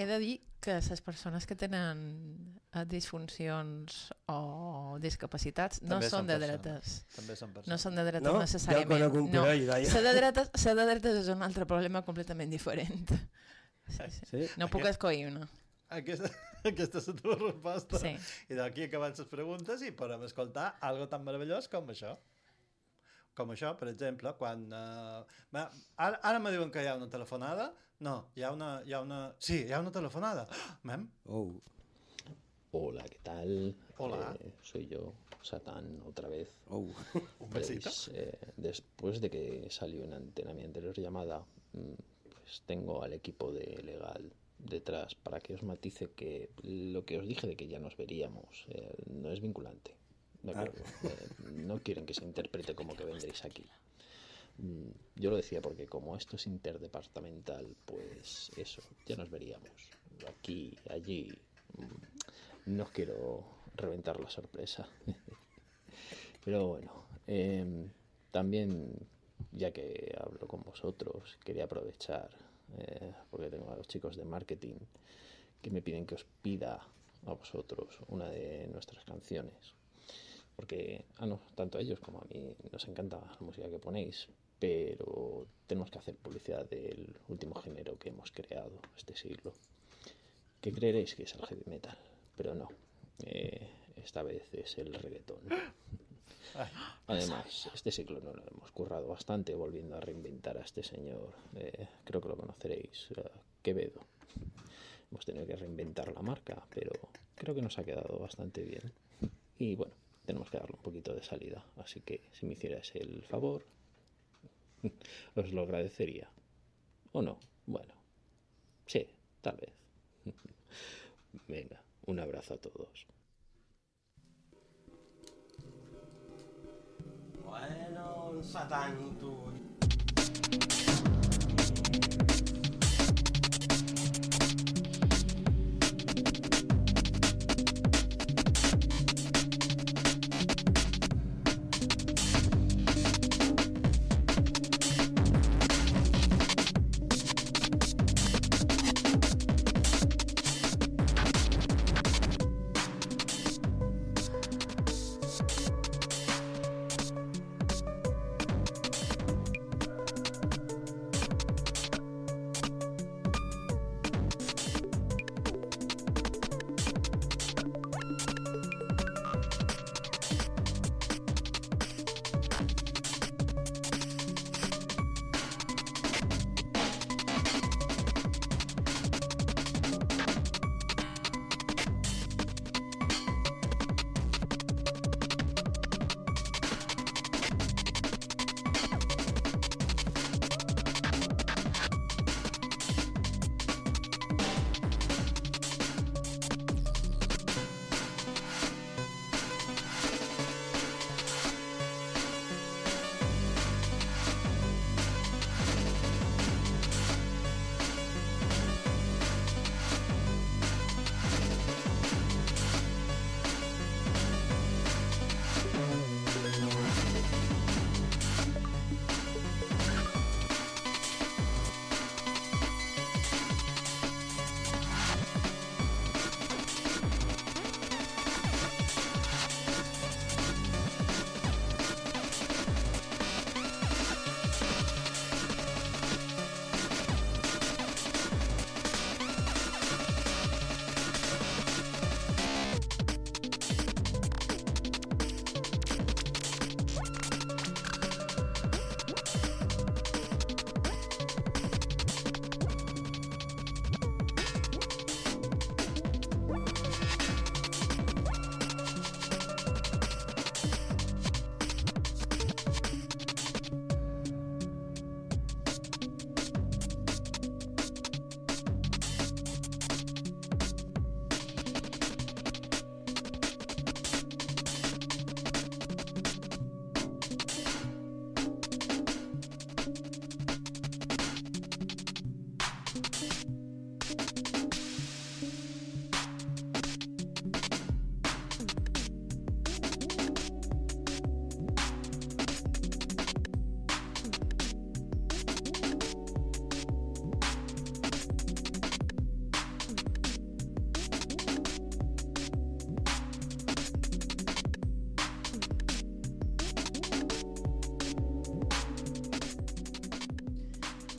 [SPEAKER 6] he de dir que les persones que tenen eh, disfuncions o discapacitats no
[SPEAKER 3] També
[SPEAKER 6] són de
[SPEAKER 3] persones.
[SPEAKER 6] dretes.
[SPEAKER 3] També són
[SPEAKER 6] No
[SPEAKER 3] persones.
[SPEAKER 6] són de dretes
[SPEAKER 2] No? Jo
[SPEAKER 6] necessàriament.
[SPEAKER 2] conec un parell, Laia.
[SPEAKER 6] Ser de, dretes, ser de dretes és un altre problema completament diferent. Sí, sí.
[SPEAKER 2] Sí?
[SPEAKER 6] No puc escollir una.
[SPEAKER 3] Aquesta, aquesta és la teva resposta.
[SPEAKER 6] Sí.
[SPEAKER 3] I d'aquí acabem les preguntes i podem escoltar algo tan meravellós com això. Com això, per exemple, quan... Uh, ara, ara me diuen que hi ha una telefonada. No, hi ha una... Hi ha una... Sí, hi ha una telefonada. Oh, mem,
[SPEAKER 2] Oh.
[SPEAKER 8] Hola, ¿qué tal?
[SPEAKER 3] Hola.
[SPEAKER 8] Eh, soy yo, Satán, otra vez.
[SPEAKER 2] Oh.
[SPEAKER 3] un besito.
[SPEAKER 8] Pues, eh, después de que salió en antena mi anterior llamada, mm, pues tengo al equipo de legal detrás para que os matice que lo que os dije de que ya nos veríamos eh, no es vinculante. ¿de
[SPEAKER 2] Ah.
[SPEAKER 8] acuerdo? Eh, no quieren que se interprete como que vendréis aquí. Mm, Yo lo decía porque como esto es interdepartamental, pues eso, ya nos veríamos. Aquí, allí. mm, No os quiero reventar la sorpresa. Pero bueno, em, también ya que hablo con vosotros, quería aprovechar, eh, porque tengo a los chicos de marketing que me piden que os pida a vosotros una de nuestras canciones. Porque, ah, no, tanto a ellos como a mí nos encanta la música que ponéis, pero tenemos que hacer publicidad del último género que hemos creado este siglo que creeréis que es el heavy metal, pero no. Eh, esta vez es el reggaetón. Además, este ciclo no lo hemos currado bastante volviendo a reinventar a este señor. eh, creo que lo conoceréis, eh, Quevedo. Hemos tenido que reinventar la marca, pero creo que nos ha quedado bastante bien. Y bueno, tenemos que darle un poquito de salida. Así que si me hicierais el favor, os lo agradecería. ¿O no? Bueno, sí, tal vez. Venga, un abrazo a todos.
[SPEAKER 2] Bueno, un satan, tu.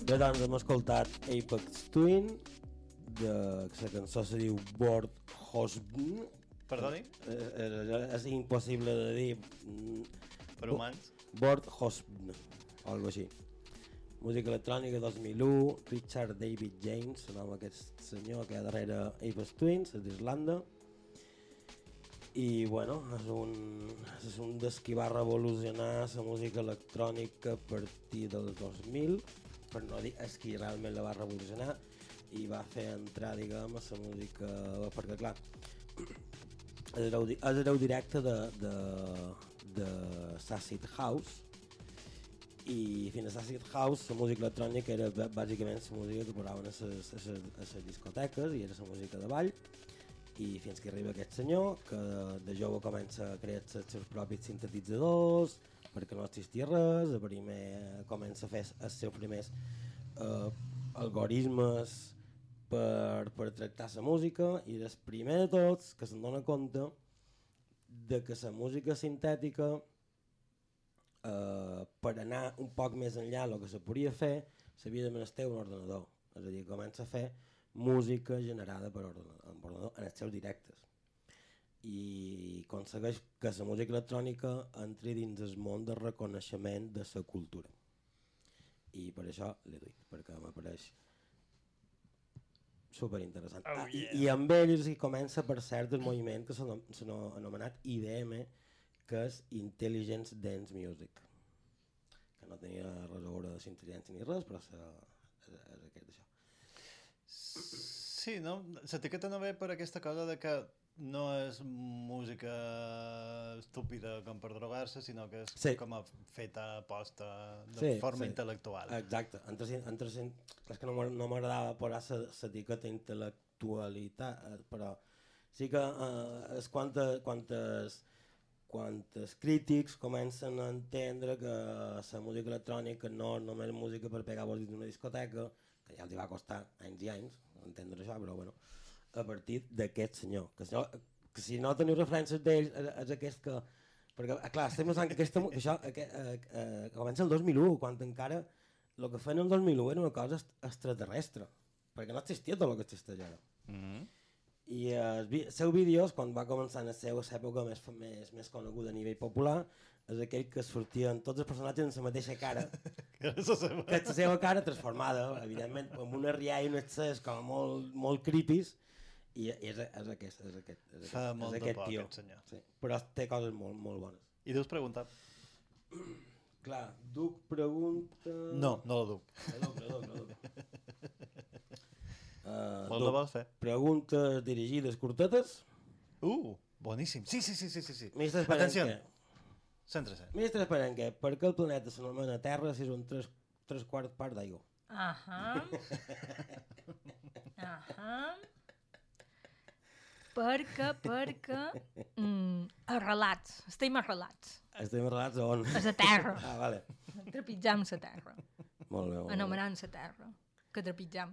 [SPEAKER 2] Bé, doncs hem escoltat Apex Twin, de, que la cançó se diu Bord Hosbn.
[SPEAKER 3] Perdoni?
[SPEAKER 2] Eh, eh, és impossible de dir. mm,
[SPEAKER 3] Per humans?
[SPEAKER 2] Bord Hosbn, o alguna així. Música electrònica 2001, Richard David James, el nom d'aquest senyor que hi ha darrere Apex Twins, és d'Irlanda. I bueno, és un, és un dels qui va revolucionar la música electrònica a partir del 2000, per no dir és qui realment la va revolucionar i va fer entrar, diguem, a la música... Perquè, clar, és hereu, di- és hereu directe de, de, de Sacid House, i fins a Acid House la música electrònica era bà- bàsicament la música que posaven a les- a les a les discoteques i era la música de ball i fins que arriba aquest senyor que de jove comença a crear els seus propis sintetitzadors perquè no existia res, a primer comença a fer els seus primers eh, algoritmes per, per tractar la música i és primer de tots que se'n dona compte de que la música sintètica eh, per anar un poc més enllà del que se podia fer, s'havia de menester un ordenador. És a dir, comença a fer música generada per ordena- amb ordenador en els seus directes. I aconsegueix que la música electrònica entri dins el món de reconeixement de la cultura. I per això l'he dit, perquè m'apareix superinteressant.
[SPEAKER 3] Oh,
[SPEAKER 2] Ah, i,
[SPEAKER 3] yeah.
[SPEAKER 2] I amb ell és que comença, per cert, el moviment que s'ha anom- s'ha ano- anomenat IDM, que és Intelligence Dance Music que no tenia res a veure de s'intel·ligència ni res, però és, és, és aquest això.
[SPEAKER 3] Sí, no? L'etiqueta no ve per aquesta cosa de que no és música estúpida com per drogar-se, sinó que és
[SPEAKER 2] Sí.
[SPEAKER 3] com a feta aposta de
[SPEAKER 2] Sí,
[SPEAKER 3] forma
[SPEAKER 2] sí.
[SPEAKER 3] intel·lectual.
[SPEAKER 2] Exacte, entre, cin- entre, cin- és que no m'ag- no m'agradava posar l'etiqueta intel·lectualitat, eh, però sí que eh, és quantes, quantes, quantes crítics comencen a entendre que la música electrònica no és només música per pegar vols dins d'una discoteca, que ja els hi va costar anys i anys entendre això, però bueno, a partir d'aquest senyor, que, senyor, que si no teniu referències d'ell, és, és aquest que... Perquè, eh, clar, estem pensant que, aquesta, mu- que això aquest, eh, eh, comença el 2001, quan encara el que feien el 2001 era una cosa est- extraterrestre, perquè no existia tot el que existeix ara. I eh, el vi- seu vídeos, quan va començar a ser la seva època més, fa- més, més coneguda a nivell popular, és aquell que sortien tots els personatges amb la mateixa cara,
[SPEAKER 3] Que és la seva-
[SPEAKER 2] que la seva cara transformada, evidentment, amb una rialla i un excés com a molt, molt creepies, i és, és aquest, és aquest, és aquest,
[SPEAKER 3] Fa
[SPEAKER 2] és
[SPEAKER 3] molt de
[SPEAKER 2] aquest
[SPEAKER 3] por,
[SPEAKER 2] tio.
[SPEAKER 3] aquest senyor.
[SPEAKER 2] Sí. Però té coses molt, molt bones.
[SPEAKER 3] I deus preguntar.
[SPEAKER 2] Clar, Duc pregunta...
[SPEAKER 3] No, no la duc.
[SPEAKER 2] Perdó, perdó, perdó. Uh,
[SPEAKER 3] Molt de vols fer.
[SPEAKER 2] preguntes dirigides curtetes.
[SPEAKER 3] Uh, boníssim. Sí, sí, sí, sí, sí. sí.
[SPEAKER 2] Ministre
[SPEAKER 3] Atenció.
[SPEAKER 2] Esperanque,
[SPEAKER 3] Centra-se.
[SPEAKER 2] Ministre Esperanque, per què el planeta s'anomena Terra si és un tres, tres quart part d'aigua?
[SPEAKER 7] Ahà. Ahà. Perquè, perquè... Mm, arrelats. Estem arrelats.
[SPEAKER 2] Estem relats a on?
[SPEAKER 7] És a terra.
[SPEAKER 2] Ah, vale.
[SPEAKER 7] Trepitjam sa terra.
[SPEAKER 2] Molt bé. Molt bé.
[SPEAKER 7] Anomenant sa terra. Que trepitjam.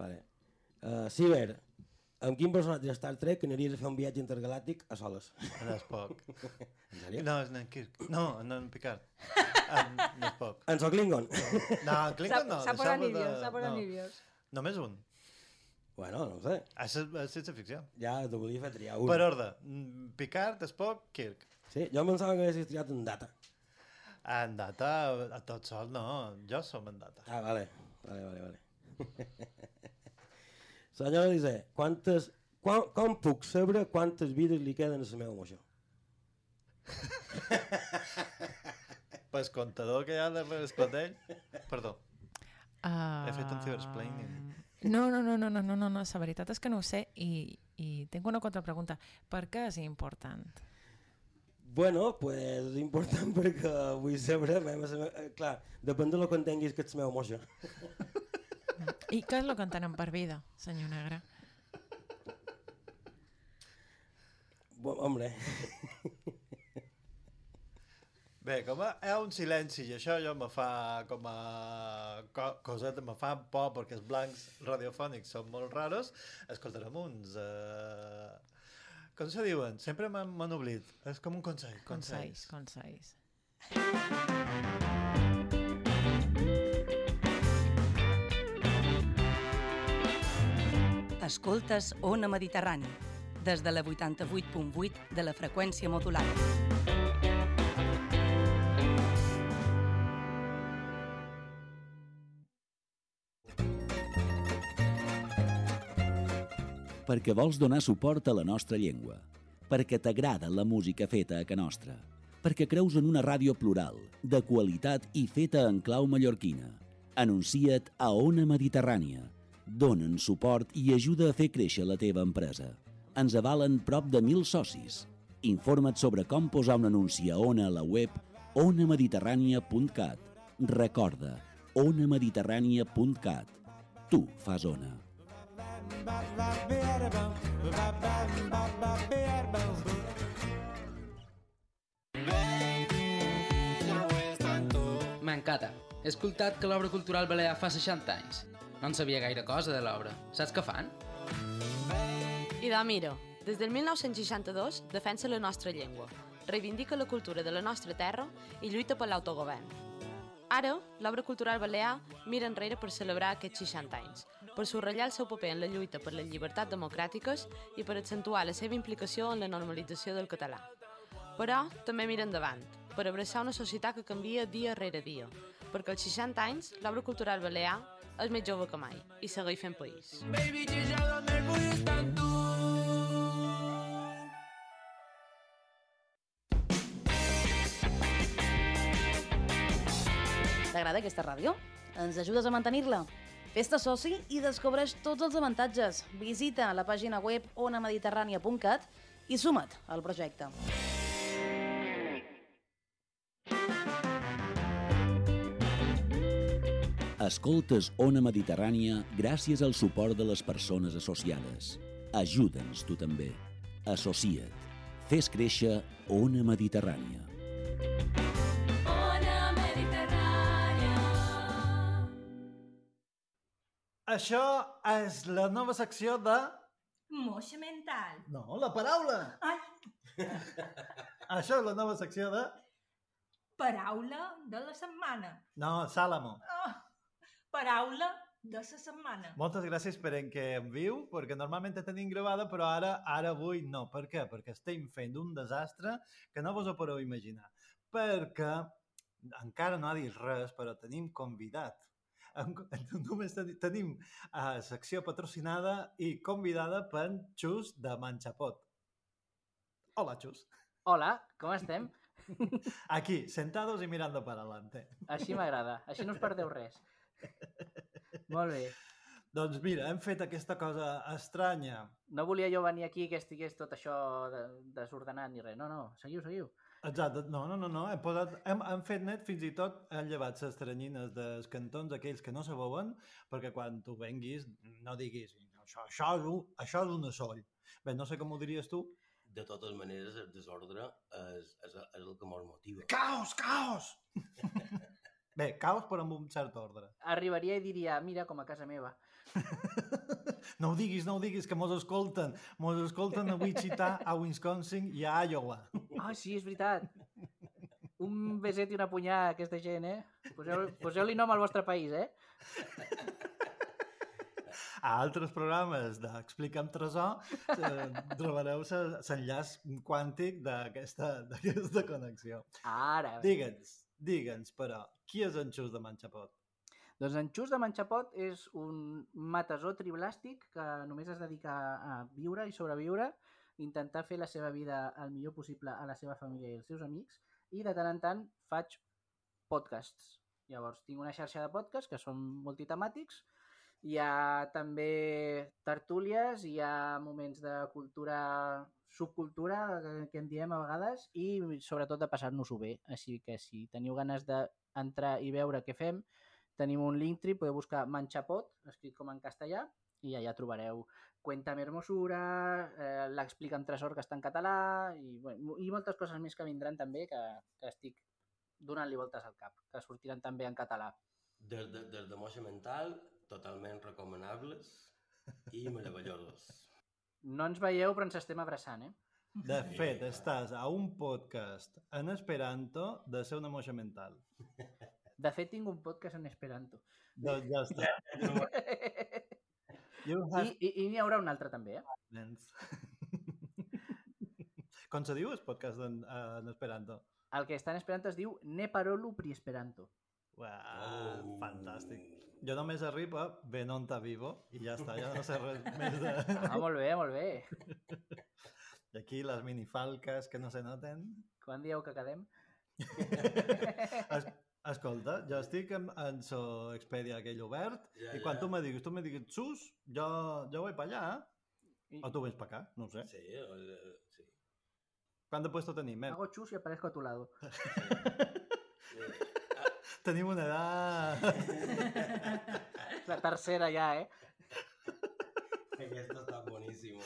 [SPEAKER 2] Vale. Uh, Ciber, amb quin personatge de Star Trek aniries a fer un viatge intergalàctic a soles?
[SPEAKER 3] No és poc.
[SPEAKER 2] En sèrio?
[SPEAKER 3] No, és en Kirk. No, no en Picard. Um, no és poc.
[SPEAKER 2] En soc Klingon.
[SPEAKER 3] No, en Clinton no.
[SPEAKER 7] S'ha posat
[SPEAKER 3] deixeu-ho
[SPEAKER 7] nívios,
[SPEAKER 3] de-
[SPEAKER 7] s'ha posat
[SPEAKER 3] no.
[SPEAKER 7] nívios.
[SPEAKER 3] Només un.
[SPEAKER 2] bueno, no ho sé.
[SPEAKER 3] Això és- és ciència ficció.
[SPEAKER 2] Ja t'ho volia fer triar un.
[SPEAKER 3] Per ordre. Mm, Picard, Spock, Kirk.
[SPEAKER 2] Sí, jo em pensava que haguessis triat un data.
[SPEAKER 3] En data, a tot sol no, jo som en data.
[SPEAKER 2] Ah, vale. Vale, vale, vale. Senyora Lise, quantes... Quan, com puc saber quantes vides li queden a la meva moixó?
[SPEAKER 3] Eh, Pues contador que hi ha darrere el clatell. Perdó,
[SPEAKER 6] Uh...
[SPEAKER 3] he fet un cibersplaining.
[SPEAKER 6] No, no, no, no, no, no, no, no, la veritat és que no ho sé i, i tinc una contrapregunta. Per què és important?
[SPEAKER 2] Bueno, pues és important perquè vull saber... la meva- la meva- eh, Clar, depèn de lo que entenguis que ets la meva moixó.
[SPEAKER 6] I què és el que entenen per vida, senyor Negre?
[SPEAKER 2] Bo, hombre,
[SPEAKER 3] Bé, com a, hi ha un silenci i això jo me fa com a co coseta, me fa por perquè els blancs radiofònics són molt raros, escoltarem uns... Eh... Com se diuen? Sempre m'han m'han oblit. És com un consell.
[SPEAKER 6] Consells,
[SPEAKER 3] Consells.
[SPEAKER 6] consells.
[SPEAKER 5] Escoltes Ona Mediterrània, des de la 88.8 de la freqüència modulada.
[SPEAKER 9] perquè vols donar suport a la nostra llengua, perquè t'agrada la música feta a ca nostra, perquè creus en una ràdio plural, de qualitat i feta en clau mallorquina. Anuncia't a Ona Mediterrània. Donen suport i ajuda a fer créixer la teva empresa. Ens avalen prop de mil socis. Informa't sobre com posar un anunci a Ona a la web onamediterrània.cat. Recorda, onamediterrània.cat. Tu fas Ona.
[SPEAKER 10] M'encanta. He escoltat que l'obra cultural balear fa 60 anys. No en sabia gaire cosa de l'obra. Saps què fan?
[SPEAKER 11] I de mira, des del 1962 defensa la nostra llengua, reivindica la cultura de la nostra terra i lluita per l'autogovern. Ara, l'obra cultural balear mira enrere per celebrar aquests 60 anys, per subratllar el seu paper en la lluita per les llibertats democràtiques i per accentuar la seva implicació en la normalització del català. Però també mira endavant, per abraçar una societat que canvia dia rere dia, perquè als 60 anys l'obra cultural balear és més jove que mai i segueix fent país.
[SPEAKER 12] T'agrada aquesta ràdio? Ens ajudes a mantenir-la? Fes-te soci i descobreix tots els avantatges. Visita la pàgina web onamediterrània.cat i suma't al projecte.
[SPEAKER 9] Escoltes Ona Mediterrània gràcies al suport de les persones associades. Ajuda'ns tu també. Associa't. Fes créixer Ona Mediterrània.
[SPEAKER 3] Això és la nova secció de...
[SPEAKER 7] Moixa mental.
[SPEAKER 3] No, la paraula!
[SPEAKER 7] Ai,
[SPEAKER 3] Això és la nova secció de...
[SPEAKER 7] paraula de la setmana.
[SPEAKER 3] No, Sàlamo.
[SPEAKER 7] Oh, paraula de la setmana.
[SPEAKER 3] Moltes gràcies per en que em viu, perquè normalment la tenim gravada, però ara ara avui no. Per què? Perquè estem fent un desastre que no vos ho podeu imaginar. Perquè encara no ha dit res, però tenim convidat. Em- Només teni- tenim a secció patrocinada i convidada per en Xus de Manxapot. Hola, Xus.
[SPEAKER 13] Hola, com estem?
[SPEAKER 3] Aquí, sentados y mirando para adelante.
[SPEAKER 13] Així m'agrada, així no us perdeu res.
[SPEAKER 3] Molt bé. Doncs mira, hem fet aquesta cosa estranya.
[SPEAKER 13] No volia jo venir aquí que estigués tot això de, desordenat ni res. No, no, seguiu, seguiu.
[SPEAKER 3] Exacte, no, no, no, no. Hem, posat, hem, hem fet net fins i tot, hem llevat les teranyines dels cantons aquells que no se veuen, perquè quan tu venguis no diguis això, això, és, un, això és un assoll. Bé, no sé com ho diries tu.
[SPEAKER 14] De totes maneres, el desordre és, és, és el que mos motiva.
[SPEAKER 3] Caos, caos! Bé, caos però amb un cert ordre.
[SPEAKER 13] Arribaria i diria, mira, com a casa meva.
[SPEAKER 3] No ho diguis, no ho diguis, que mos escolten. Mos escolten a Wichita, a Wisconsin i a Iowa.
[SPEAKER 13] Ah, sí, és veritat. Un beset i una punyà a aquesta gent, eh? Poseu- Poseu-li nom al vostre país, eh?
[SPEAKER 3] a altres programes d'Explica'm Tresor eh, trobareu l'enllaç quàntic d'aquesta d'aquesta connexió.
[SPEAKER 13] Ara. bé.
[SPEAKER 3] Digue'ns, digue'ns, però, qui és en Xus de Manxapot?
[SPEAKER 13] Doncs en Xus de Manxapot és un matasó triblàstic que només es dedica a viure i sobreviure, intentar fer la seva vida el millor possible a la seva família i els seus amics, i de tant en tant faig podcasts. Llavors, tinc una xarxa de podcasts que són multitemàtics, hi ha també tertúlies, hi ha moments de cultura, subcultura, eh, que- que en diem a vegades, i sobretot de passar-nos-ho bé. Així que si teniu ganes d'entrar i veure què fem, tenim un Linktree, podeu buscar Manxapot, escrit com en castellà, i allà trobareu Cuéntame Hermosura, eh, l'Explica amb Tresor, que està en català, i, bueno, i moltes coses més que vindran també, que, que estic donant-li voltes al cap, que sortiran també en català.
[SPEAKER 14] Des de, des de moixa mental, totalment recomanables i meravellosos.
[SPEAKER 13] No ens veieu, però ens estem abraçant, eh?
[SPEAKER 3] De fet, estàs a un podcast en esperanto de ser una moixa mental.
[SPEAKER 13] De fet, tinc un podcast en Esperanto.
[SPEAKER 3] Doncs ja està.
[SPEAKER 13] I, i, i n'hi haurà un altre també, eh?
[SPEAKER 3] Nens. Com se diu el podcast en, en Esperanto?
[SPEAKER 13] El que està en Esperanto es diu Ne parolu pri Esperanto.
[SPEAKER 3] Uah, fantàstic. Jo només arribo a Benonta Vivo i ja està, ja no sé res més de...
[SPEAKER 13] Ah, molt bé, molt bé.
[SPEAKER 3] I aquí les minifalques que no se noten.
[SPEAKER 13] Quan dieu que quedem?
[SPEAKER 3] Es, escolta, jo estic en, en so Expedia aquell obert
[SPEAKER 14] Ja,
[SPEAKER 3] ja, i quan
[SPEAKER 14] ja.
[SPEAKER 3] tu me diguis, tu me diguis, sus, jo, jo vaig pa allà, I... o tu vens pa acá, no ho sé.
[SPEAKER 14] Sí, eh, sí.
[SPEAKER 3] Quan de puesto tenim, eh? Mer?
[SPEAKER 13] Hago chus y aparezco a tu lado.
[SPEAKER 3] Tenim una edat...
[SPEAKER 13] La tercera ja, eh?
[SPEAKER 14] Aquesta està boníssima.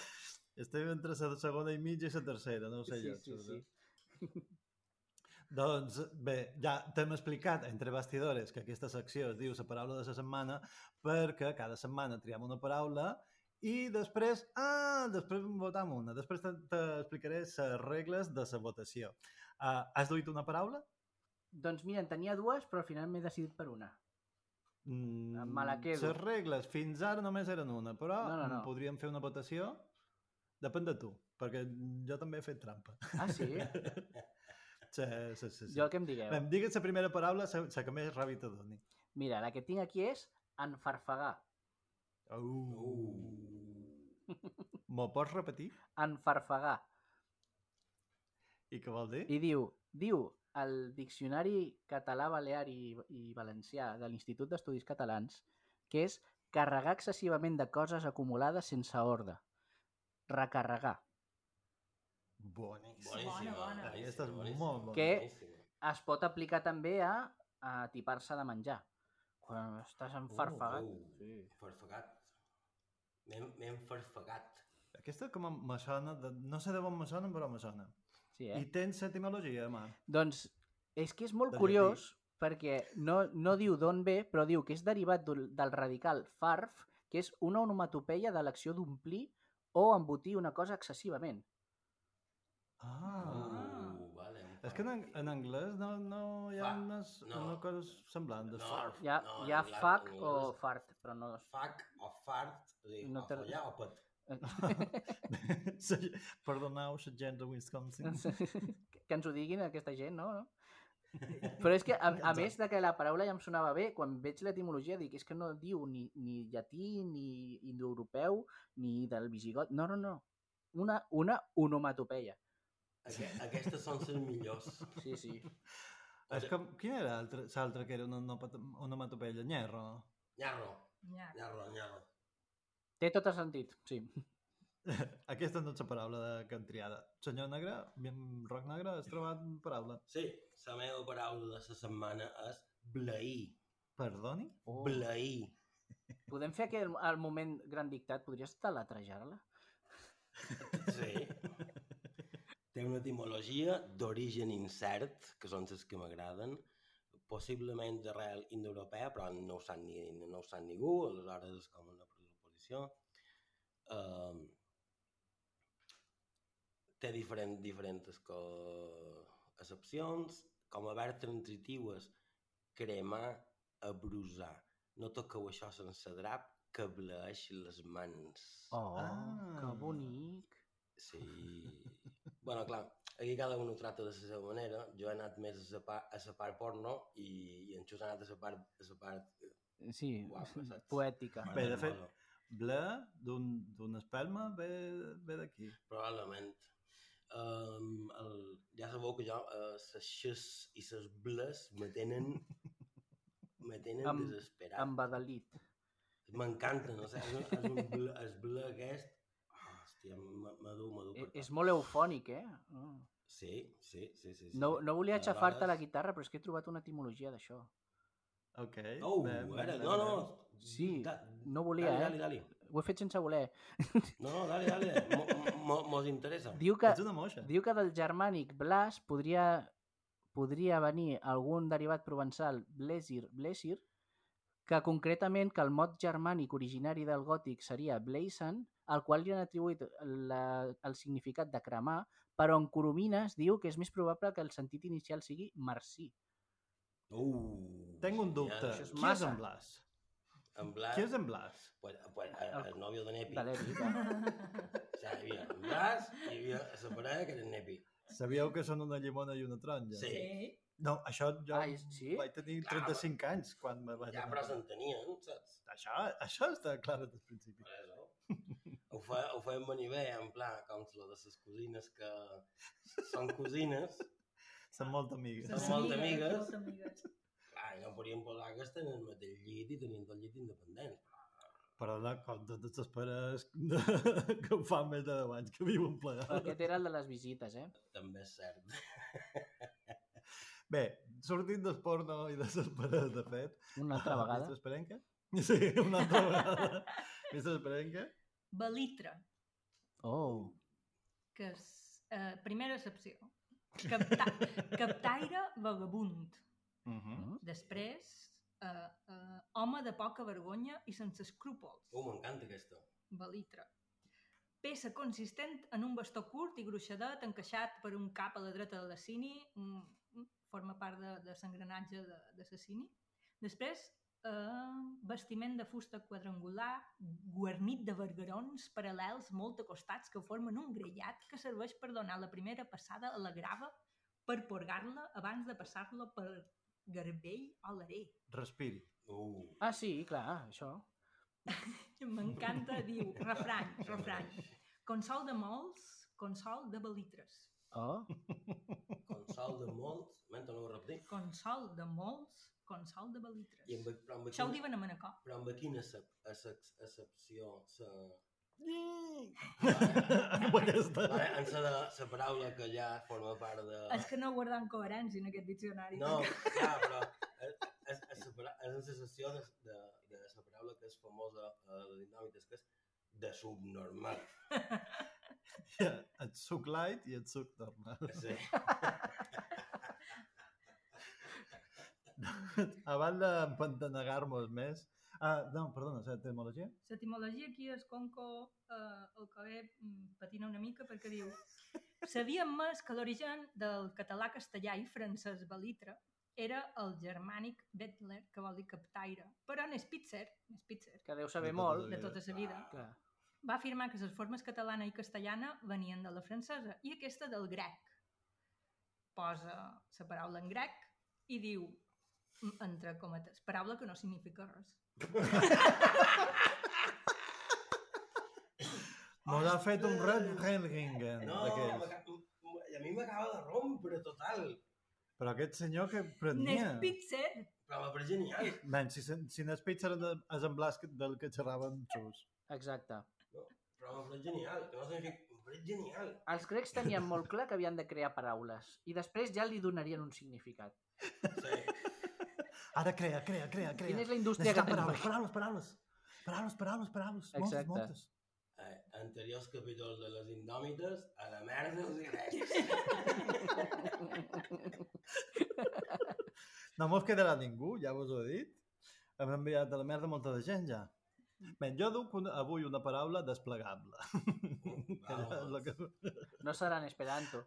[SPEAKER 3] Estem entre la segona i mitja i la tercera, no ho sé
[SPEAKER 14] Sí,
[SPEAKER 3] jo.
[SPEAKER 14] sí,
[SPEAKER 3] això,
[SPEAKER 14] sí.
[SPEAKER 3] no? Doncs bé, ja t'hem explicat entre bastidores que aquesta secció es diu la paraula de la setmana perquè cada setmana triem una paraula i després, ah, després en votam una. Després te- t'explicaré les regles de la votació. Uh, has duit una paraula?
[SPEAKER 13] Doncs mira, en tenia dues, però al final m'he decidit per una.
[SPEAKER 3] Mm,
[SPEAKER 13] me la quedo.
[SPEAKER 3] Les regles fins ara només eren una, però
[SPEAKER 13] No, no, no.
[SPEAKER 3] podríem fer una votació. Depèn de tu, perquè jo també he fet trampa.
[SPEAKER 13] Ah, sí?
[SPEAKER 3] sí, sí, sí, sí.
[SPEAKER 13] Jo el que em digueu.
[SPEAKER 3] Bé, em digues la primera paraula, la la que més ràbia te doni.
[SPEAKER 13] Mira, la que tinc aquí és enfarfegar.
[SPEAKER 3] Uh. M'ho pots repetir?
[SPEAKER 13] Enfarfegar.
[SPEAKER 3] I què vol dir?
[SPEAKER 13] I diu, diu el Diccionari Català, Balear i, i Valencià de l'Institut d'Estudis Catalans que és carregar excessivament de coses acumulades sense ordre. Recarregar.
[SPEAKER 3] Boníssima.
[SPEAKER 14] Boníssima, bona.
[SPEAKER 3] Aquesta és
[SPEAKER 14] boníssima.
[SPEAKER 3] molt bona.
[SPEAKER 13] que es pot aplicar també a, a tipar-se de menjar. Quan estàs enfarfegat.
[SPEAKER 14] Oh, oh.
[SPEAKER 13] Sí.
[SPEAKER 14] Farfegat. M'hem m'he enfarfegat.
[SPEAKER 3] Aquesta com em- me sona, de... no sé de on me sona, però me sona.
[SPEAKER 13] Sí, eh?
[SPEAKER 3] I tens etimologia, mà.
[SPEAKER 13] Doncs és que és molt
[SPEAKER 3] De
[SPEAKER 13] curiós perquè no, no diu d'on ve, però diu que és derivat d'un- del radical farf, que és una onomatopeia de l'acció d'omplir o embotir una cosa excessivament.
[SPEAKER 3] Ah.
[SPEAKER 14] Uh, vale.
[SPEAKER 3] És que en, ang- en anglès no, no hi ha
[SPEAKER 14] Fa.
[SPEAKER 3] unes, no.
[SPEAKER 14] No.
[SPEAKER 3] una cosa semblant de
[SPEAKER 14] No.
[SPEAKER 3] farf.
[SPEAKER 13] Hi ha,
[SPEAKER 14] No,
[SPEAKER 13] hi ha
[SPEAKER 14] en anglès-
[SPEAKER 13] fuck
[SPEAKER 14] en
[SPEAKER 13] o
[SPEAKER 14] anglès-
[SPEAKER 13] fart, però no...
[SPEAKER 14] Fac o fart, o sigui,
[SPEAKER 13] No
[SPEAKER 14] no
[SPEAKER 13] te-
[SPEAKER 14] te... o follar o pot.
[SPEAKER 3] Sí, Perdoneu, la gent de Wisconsin.
[SPEAKER 13] que ens ho diguin aquesta gent, no? no? Però és que, a, a més de que la paraula ja em sonava bé, quan veig l'etimologia dic és que no diu ni, ni llatí, ni indoeuropeu, ni del visigot. No, no, no. Una, una onomatopeia.
[SPEAKER 14] Aqu aquestes són les millors.
[SPEAKER 13] Sí, sí.
[SPEAKER 3] És que, quina era l'altra- l'altra que era una onomat- onomatopeia? Nyerro?
[SPEAKER 14] Nyarro. Nyarro, nyarro.
[SPEAKER 13] Té tot el sentit, sí.
[SPEAKER 3] Aquesta no és la paraula de que hem triada. Senyor Negre, ben- Roc Negre, has trobat paraula?
[SPEAKER 14] Sí, la meva paraula de la setmana és bleir.
[SPEAKER 3] Perdoni?
[SPEAKER 13] Oh.
[SPEAKER 14] Bleir.
[SPEAKER 13] Podem fer aquell el moment gran dictat? Podries talatrejar-la?
[SPEAKER 14] Sí. Té una etimologia d'origen incert, que són les que m'agraden, possiblement d'arrel indoeuropea, però no ho sap, ni, no ho sap ningú, aleshores és com una presuposició. Um, té diferent, diferents co... excepcions, com a verbs transitives, cremar, abrusar. No toqueu això sense drap, que bleeix les mans.
[SPEAKER 13] Oh, ah. que bonic.
[SPEAKER 14] Sí. bueno, clar, aquí cada un ho tracta de la seva manera. Jo he anat més a la part, a la part porno i, i en Xus ha anat a la part, a la part
[SPEAKER 13] Eh, Sí,
[SPEAKER 14] guapa, saps?
[SPEAKER 13] poètica.
[SPEAKER 3] Bé, de
[SPEAKER 14] Bueno,
[SPEAKER 3] fet,
[SPEAKER 14] bueno,
[SPEAKER 3] ble d'un- d'una espelma ve, ve d'aquí.
[SPEAKER 14] Probablement. Um, el, ja sabeu que jo, eh, les xes i les bles me tenen, me tenen
[SPEAKER 13] Amb-
[SPEAKER 14] desesperat.
[SPEAKER 13] Embadalit.
[SPEAKER 14] M'encanta, no sé, és, un- és un ble, és ble aquest... Oh, hòstia, me- me du, me du.
[SPEAKER 13] E- És molt eufònic, eh? Mm.
[SPEAKER 14] Sí, sí, sí, sí. sí.
[SPEAKER 13] No, no volia
[SPEAKER 14] Aleshores-
[SPEAKER 13] aixafar-te la guitarra, però és que he trobat una etimologia d'això.
[SPEAKER 3] Ok.
[SPEAKER 14] Oh,
[SPEAKER 3] bé,
[SPEAKER 14] ara,
[SPEAKER 3] bé, bé,
[SPEAKER 14] no, no,
[SPEAKER 3] bé.
[SPEAKER 13] Sí,
[SPEAKER 14] Da-
[SPEAKER 13] no volia,
[SPEAKER 14] dale,
[SPEAKER 13] eh?
[SPEAKER 14] dale, dale.
[SPEAKER 13] Ho he fet sense voler.
[SPEAKER 14] No, dale, dale. Mo- mo- mo- Mos interessa.
[SPEAKER 13] Diu que,
[SPEAKER 3] Ets una moixa.
[SPEAKER 13] diu que del germànic blas podria, podria venir algun derivat provençal blesir, blesir, que concretament que el mot germànic originari del gòtic seria bleisen, al qual li han atribuït la, el significat de cremar, però en Coromines diu que és més probable que el sentit inicial sigui marcí.
[SPEAKER 14] Uh,
[SPEAKER 3] Tengo un
[SPEAKER 14] genial.
[SPEAKER 3] dubte.
[SPEAKER 13] Això és
[SPEAKER 3] Qui és
[SPEAKER 13] massa.
[SPEAKER 3] en Blas?
[SPEAKER 14] En Blas...
[SPEAKER 3] Qui és en Blas?
[SPEAKER 14] Pues, pues, el, el nòvio de Nepi.
[SPEAKER 3] De l'Epi,
[SPEAKER 14] o sigui, hi havia en Blas i hi havia la parella que era en Nepi.
[SPEAKER 3] Sabíeu que són una llimona i una taronja?
[SPEAKER 14] Sí. Sí.
[SPEAKER 3] No, això jo
[SPEAKER 13] Ah,
[SPEAKER 3] Ai, sí? vaig tenir 35 anys quan me vaig...
[SPEAKER 14] Ja, però s'entenien, saps?
[SPEAKER 3] Això, això està clar des del principi.
[SPEAKER 14] Per això. Ho, fe, ho feien venir bé, en pla, com lo de les cosines que són cosines.
[SPEAKER 3] Són molt amigues.
[SPEAKER 14] Són molt amigues.
[SPEAKER 7] Molt amigues.
[SPEAKER 14] Clar, i no podien posar que estan en el mateix llit i tenien tot llit independent.
[SPEAKER 3] Però la, com de totes les pares de, que fa més de 10 anys que viuen plegades.
[SPEAKER 13] Aquest era el de les visites, eh?
[SPEAKER 14] També és cert.
[SPEAKER 3] Bé, sortint del porno i de les paredes, de fet...
[SPEAKER 13] Una altra vegada.
[SPEAKER 3] Mestre Esperenca? Sí, una altra vegada. Mestre Esperenca?
[SPEAKER 7] Balitre,
[SPEAKER 13] Oh.
[SPEAKER 7] que és... Eh, primera excepció. Capta, captaire vagabund.
[SPEAKER 14] Mm.
[SPEAKER 13] Uh
[SPEAKER 7] Mm.
[SPEAKER 13] -huh.
[SPEAKER 7] Després, eh, eh, home de poca vergonya i sense escrúpols.
[SPEAKER 14] Oh, m'encanta aquesta.
[SPEAKER 7] Balitre. Peça consistent en un bastó curt i gruixadet encaixat per un cap a la dreta de la cini, mm, mm, forma part de, de l'engranatge de, de la cini. Després, eh, vestiment de fusta quadrangular, guarnit de vergarons paral·lels molt acostats que formen un grellat que serveix per donar la primera passada a la grava per porgar-la abans de passar-la per garbell o l'aré.
[SPEAKER 3] Respiri.
[SPEAKER 14] Uh.
[SPEAKER 13] Ah, sí, clar, això.
[SPEAKER 7] M'encanta, diu, refrany, refrany. Consol de molts, consol de balitres.
[SPEAKER 13] Oh.
[SPEAKER 14] Consol de molts... Menta, no ho repetim.
[SPEAKER 7] Consol de molts, consol de balitres.
[SPEAKER 14] I amb, però amb
[SPEAKER 7] Això ho diuen a Manacor.
[SPEAKER 14] Però amb quina excep, excep, excepció... Se...
[SPEAKER 3] Amb aquesta.
[SPEAKER 14] Vale, en sa, de, sa paraula que ja forma part de...
[SPEAKER 7] És que no guardant coherència en aquest diccionari.
[SPEAKER 14] No, ja, però és, és, és, la para- és la sensació de, de, de la paraula que és famosa a la dinàmica, que és de subnormal.
[SPEAKER 3] Et suc light i et suc normal.
[SPEAKER 14] Sí.
[SPEAKER 3] Abans d'empantanegar-nos més... Ah, no, perdona, la etimologia?
[SPEAKER 7] L'etimologia aquí és Conco eh, el que ve mm, patina una mica perquè diu Sabíem més que l'origen del català, castellà i francès balitre era el germànic Bettler, que vol dir captaire, però en Spitzer, en Spitzer
[SPEAKER 13] Que deu saber molt.
[SPEAKER 7] de tota la vida,
[SPEAKER 13] Clar.
[SPEAKER 7] va afirmar que les formes catalana i castellana venien de la francesa i aquesta del grec. Posa la paraula en grec i diu, mm, entre cometes, paraula que no significa res.
[SPEAKER 3] Mos ha fet un red Hellringen
[SPEAKER 14] No,
[SPEAKER 3] d'aquells.
[SPEAKER 14] m'aca- m- m- i a mi m'acaba de rompre total.
[SPEAKER 3] Però aquest senyor que prenia...
[SPEAKER 7] Nespitzer,
[SPEAKER 14] Però m'ha pres genial.
[SPEAKER 3] Nen, si, se- si n'és pizza és en Blas que- del que xerràvem xus.
[SPEAKER 13] Exacte.
[SPEAKER 14] Però m'ha pres genial, que no significa... M'ha pres genial.
[SPEAKER 13] Els grecs tenien molt clar que havien de crear paraules i després ja li donarien un significat.
[SPEAKER 3] Ara crea, crea, crea, crea.
[SPEAKER 13] Quina és la indústria que
[SPEAKER 3] Necessitem
[SPEAKER 13] tenim?
[SPEAKER 3] Paraules, paraules, paraules, paraules, paraules, paraules. Moltes,
[SPEAKER 13] Exacte.
[SPEAKER 3] moltes.
[SPEAKER 14] Eh, anteriors capítols de les indòmites, a la merda els grecs.
[SPEAKER 3] No mos quedarà ningú, ja vos ho he dit. Hem enviat a la merda molta de gent, ja. Bé, jo duc una, avui una paraula desplegable. Que ja és la que...
[SPEAKER 13] No serà en esperanto.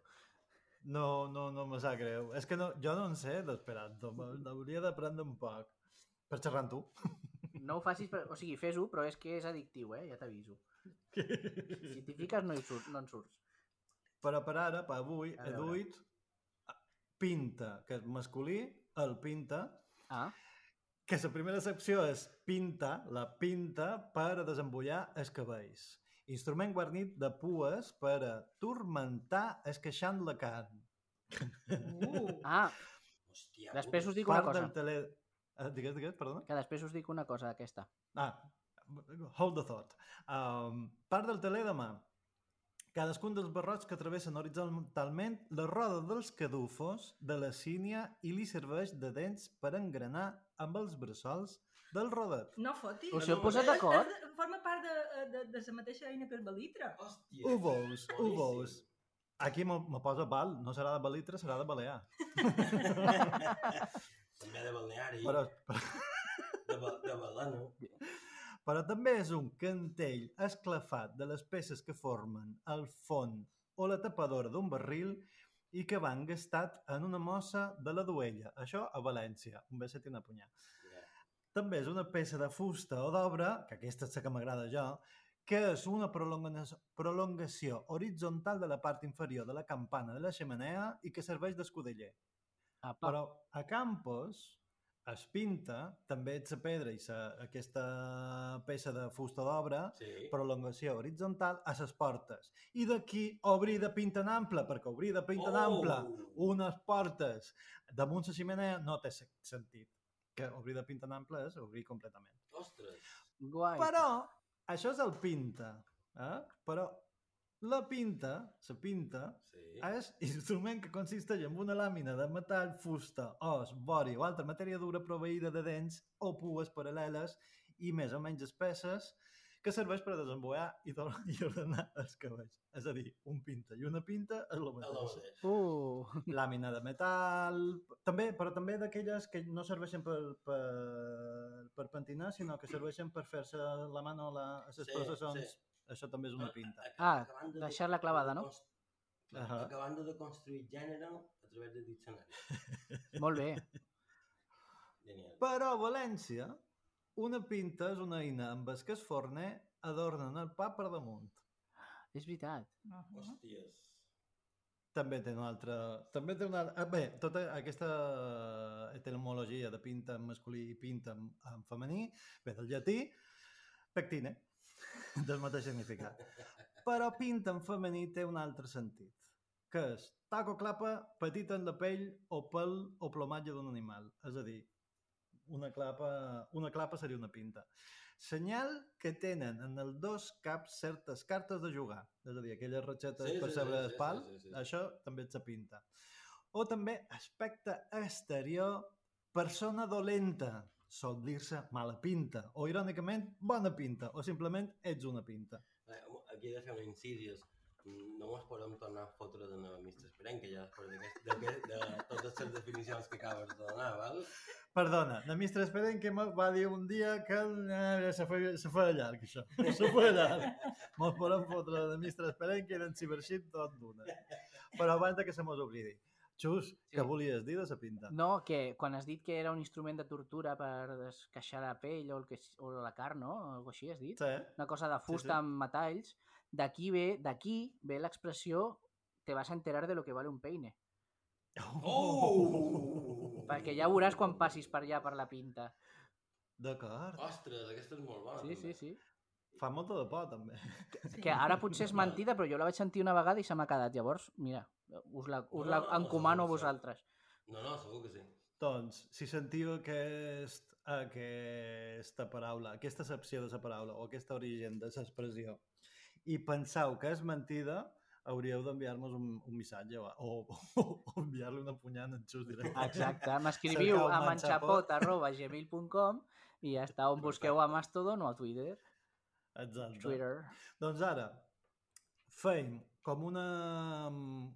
[SPEAKER 3] No, no, no me sap greu. És que no, jo no en sé d'esperanto, me- n'hauria d'aprendre un poc. Per xerrar amb tu.
[SPEAKER 13] No ho facis, per... o sigui, fes-ho, però és que és addictiu, eh? Ja t'aviso. Si t'hi fiques no, hi surt, no en surts.
[SPEAKER 3] Però per ara, per avui,
[SPEAKER 13] A
[SPEAKER 3] he
[SPEAKER 13] veure.
[SPEAKER 3] duit ah, pinta, que és masculí, el pinta,
[SPEAKER 13] ah.
[SPEAKER 3] que la primera secció és pinta, la pinta per a desembullar els cabells. Instrument guarnit de pues per a turmentar esqueixant la carn.
[SPEAKER 13] Ah,
[SPEAKER 14] Hòstia,
[SPEAKER 13] després us dic una
[SPEAKER 3] Part
[SPEAKER 13] cosa.
[SPEAKER 3] Del tele... Eh, Digues, digues, perdona.
[SPEAKER 13] Que després us dic una cosa aquesta.
[SPEAKER 3] Ah, hold the thought. Um, part del teler de mà. Cadascun dels barrots que travessen horitzontalment la roda dels cadufos de la sínia i li serveix de dents per engranar amb els bressols del rodet.
[SPEAKER 7] no fotis.
[SPEAKER 3] Us hi heu posat d'acord?
[SPEAKER 7] Forma part de, eh, de, de la mateixa eina que el balitre.
[SPEAKER 14] Hòstia.
[SPEAKER 3] Ho veus, ho veus. Aquí me, me posa bal, no serà de balitre, serà de balear.
[SPEAKER 14] També de balneari.
[SPEAKER 3] Però, però,
[SPEAKER 14] De, ba- de balano.
[SPEAKER 3] però també és un cantell esclafat de les peces que formen el fond o la tapadora d'un barril i que van gastat en una mossa de la duella. Això a València. Un beset i una punyà. també és una peça de fusta o d'obra, que aquesta és la que m'agrada jo, que és una prolongació, prolongació horitzontal de la part inferior de la campana de la xemeneia i que serveix d'escudeller.
[SPEAKER 13] Apa.
[SPEAKER 3] Però a Campos es pinta, també és la pedra i sa, aquesta peça de fusta d'obra,
[SPEAKER 14] Sí.
[SPEAKER 3] prolongació horitzontal a les portes. I d'aquí obrir de pinta en ample, perquè obrir de pinta en ample unes portes damunt la xemeneia no té se- sentit. Que obrir de pinta en ample és obrir completament.
[SPEAKER 14] Ostres!
[SPEAKER 13] Guai.
[SPEAKER 3] Però això és el pinta. Eh? Però la pinta, la pinta,
[SPEAKER 14] sí.
[SPEAKER 3] és instrument que consisteix en una làmina de metall, fusta, os, vori o altra matèria dura proveïda de dents o pues paral·leles i més o menys espesses que serveix per a desemboar i, dor- i ordenar els cabells. És a dir, un pinta i una pinta és el mateix.
[SPEAKER 13] Uh.
[SPEAKER 3] Làmina de metall... També, però també d'aquelles que no serveixen per, per, per pentinar, sinó que serveixen per fer-se la mano a, la, a les
[SPEAKER 14] Sí,
[SPEAKER 3] sí, processons.
[SPEAKER 14] sí.
[SPEAKER 3] Sí. Això també és una pinta.
[SPEAKER 13] Ah,
[SPEAKER 14] Acabant de-
[SPEAKER 13] deixar-la clavada, no?
[SPEAKER 14] Clar,
[SPEAKER 3] Ahà.
[SPEAKER 14] Acabant de construir gènere a través de diccionari.
[SPEAKER 13] Molt bé.
[SPEAKER 14] Genial.
[SPEAKER 3] Però a València, una pinta és una eina amb el que es forner adornen el pa per damunt.
[SPEAKER 13] És veritat.
[SPEAKER 14] Hòsties.
[SPEAKER 3] També té una altra... També té una... ah, Bé, tota aquesta etimologia de pinta en masculí i pinta en, en femení ve del llatí pectine, del mateix significat. Però pinta en femení té un altre sentit, que és taco clapa petita en la pell o pèl o plomatge d'un animal. És a dir, una clapa, una clapa seria una pinta. Senyal que tenen en els dos caps certes cartes de jugar, és a dir, aquelles ratxetes
[SPEAKER 14] Sí,
[SPEAKER 3] sí, per
[SPEAKER 14] sí,
[SPEAKER 3] saber
[SPEAKER 14] sí,
[SPEAKER 3] sí,
[SPEAKER 14] sí,
[SPEAKER 3] espal,
[SPEAKER 14] sí,
[SPEAKER 3] sí,
[SPEAKER 14] sí,
[SPEAKER 3] sí,
[SPEAKER 14] sí, sí.
[SPEAKER 3] sí, això també ets a pinta. O també aspecte exterior, persona dolenta, sol dir-se mala pinta, o irònicament bona pinta, o simplement ets una pinta.
[SPEAKER 14] Eh, Aquí he de fer un incís i és, mm, no ens podem tornar a fotre de la Mr. Esperenca ja després d'aquest- d'aquest- de totes les definicions que acabes de donar, val?
[SPEAKER 3] Perdona, la mistra Esperen que em va dir un dia que eh, se feia, se feia llarg, això. Se feia llarg. Mos podem fotre la mistra Esperen que era en ciberxit tot d'una. Però abans de que se mos oblidi. Xus, que volies dir de sa pinta?
[SPEAKER 13] No, que quan has dit que era un instrument de tortura per desqueixar la pell o, el que, s- o la carn, no? O alguna així has dit?
[SPEAKER 3] Sí.
[SPEAKER 13] Una cosa de
[SPEAKER 3] Sí,
[SPEAKER 13] fusta
[SPEAKER 3] sí.
[SPEAKER 13] amb metalls. D'aquí ve d'aquí ve l'expressió te vas a enterar de lo que vale un peine.
[SPEAKER 14] Oh!
[SPEAKER 13] Perquè ja veuràs quan passis per allà per la pinta.
[SPEAKER 3] D'acord.
[SPEAKER 14] Ostres, aquesta és molt bona.
[SPEAKER 13] Sí, sí, sí.
[SPEAKER 3] Fa molta de por, també.
[SPEAKER 13] Que ara potser és mentida, però jo la vaig sentir una vegada i se m'ha quedat. Llavors, mira, us la, us la
[SPEAKER 14] No, no, no,
[SPEAKER 13] encomano a
[SPEAKER 14] no, no.
[SPEAKER 13] vosaltres.
[SPEAKER 14] No, no, segur que sí.
[SPEAKER 3] Doncs, si sentiu aquest, aquesta paraula, aquesta excepció de la paraula o aquest origen de l'expressió i penseu que és mentida, hauríeu d'enviar-nos un, un missatge o, o, o enviar-li una punyada en xus directament.
[SPEAKER 13] Exacte, m'escriviu a
[SPEAKER 3] Cerqueu
[SPEAKER 13] manxapot arroba gmail.com i ja està, on busqueu a Mastodon o a Twitter.
[SPEAKER 3] Exacte.
[SPEAKER 13] Twitter.
[SPEAKER 3] Doncs ara, feim com una,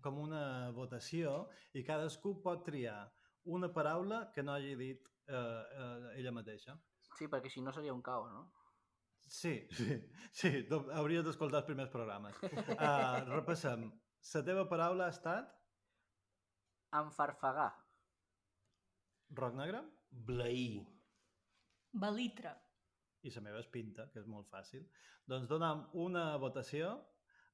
[SPEAKER 3] com una votació i cadascú pot triar una paraula que no hagi dit eh, eh, ella mateixa.
[SPEAKER 13] Sí, perquè si no seria un caos, no?
[SPEAKER 3] Sí, sí, sí, no, hauries d'escoltar els primers programes. Uh, repassem. La teva paraula ha estat
[SPEAKER 13] Enfarfegar.
[SPEAKER 3] roc negre
[SPEAKER 14] Blair.
[SPEAKER 7] Balitre.
[SPEAKER 3] i la meva és pinta, que és molt fàcil. Doncs dona'm una votació.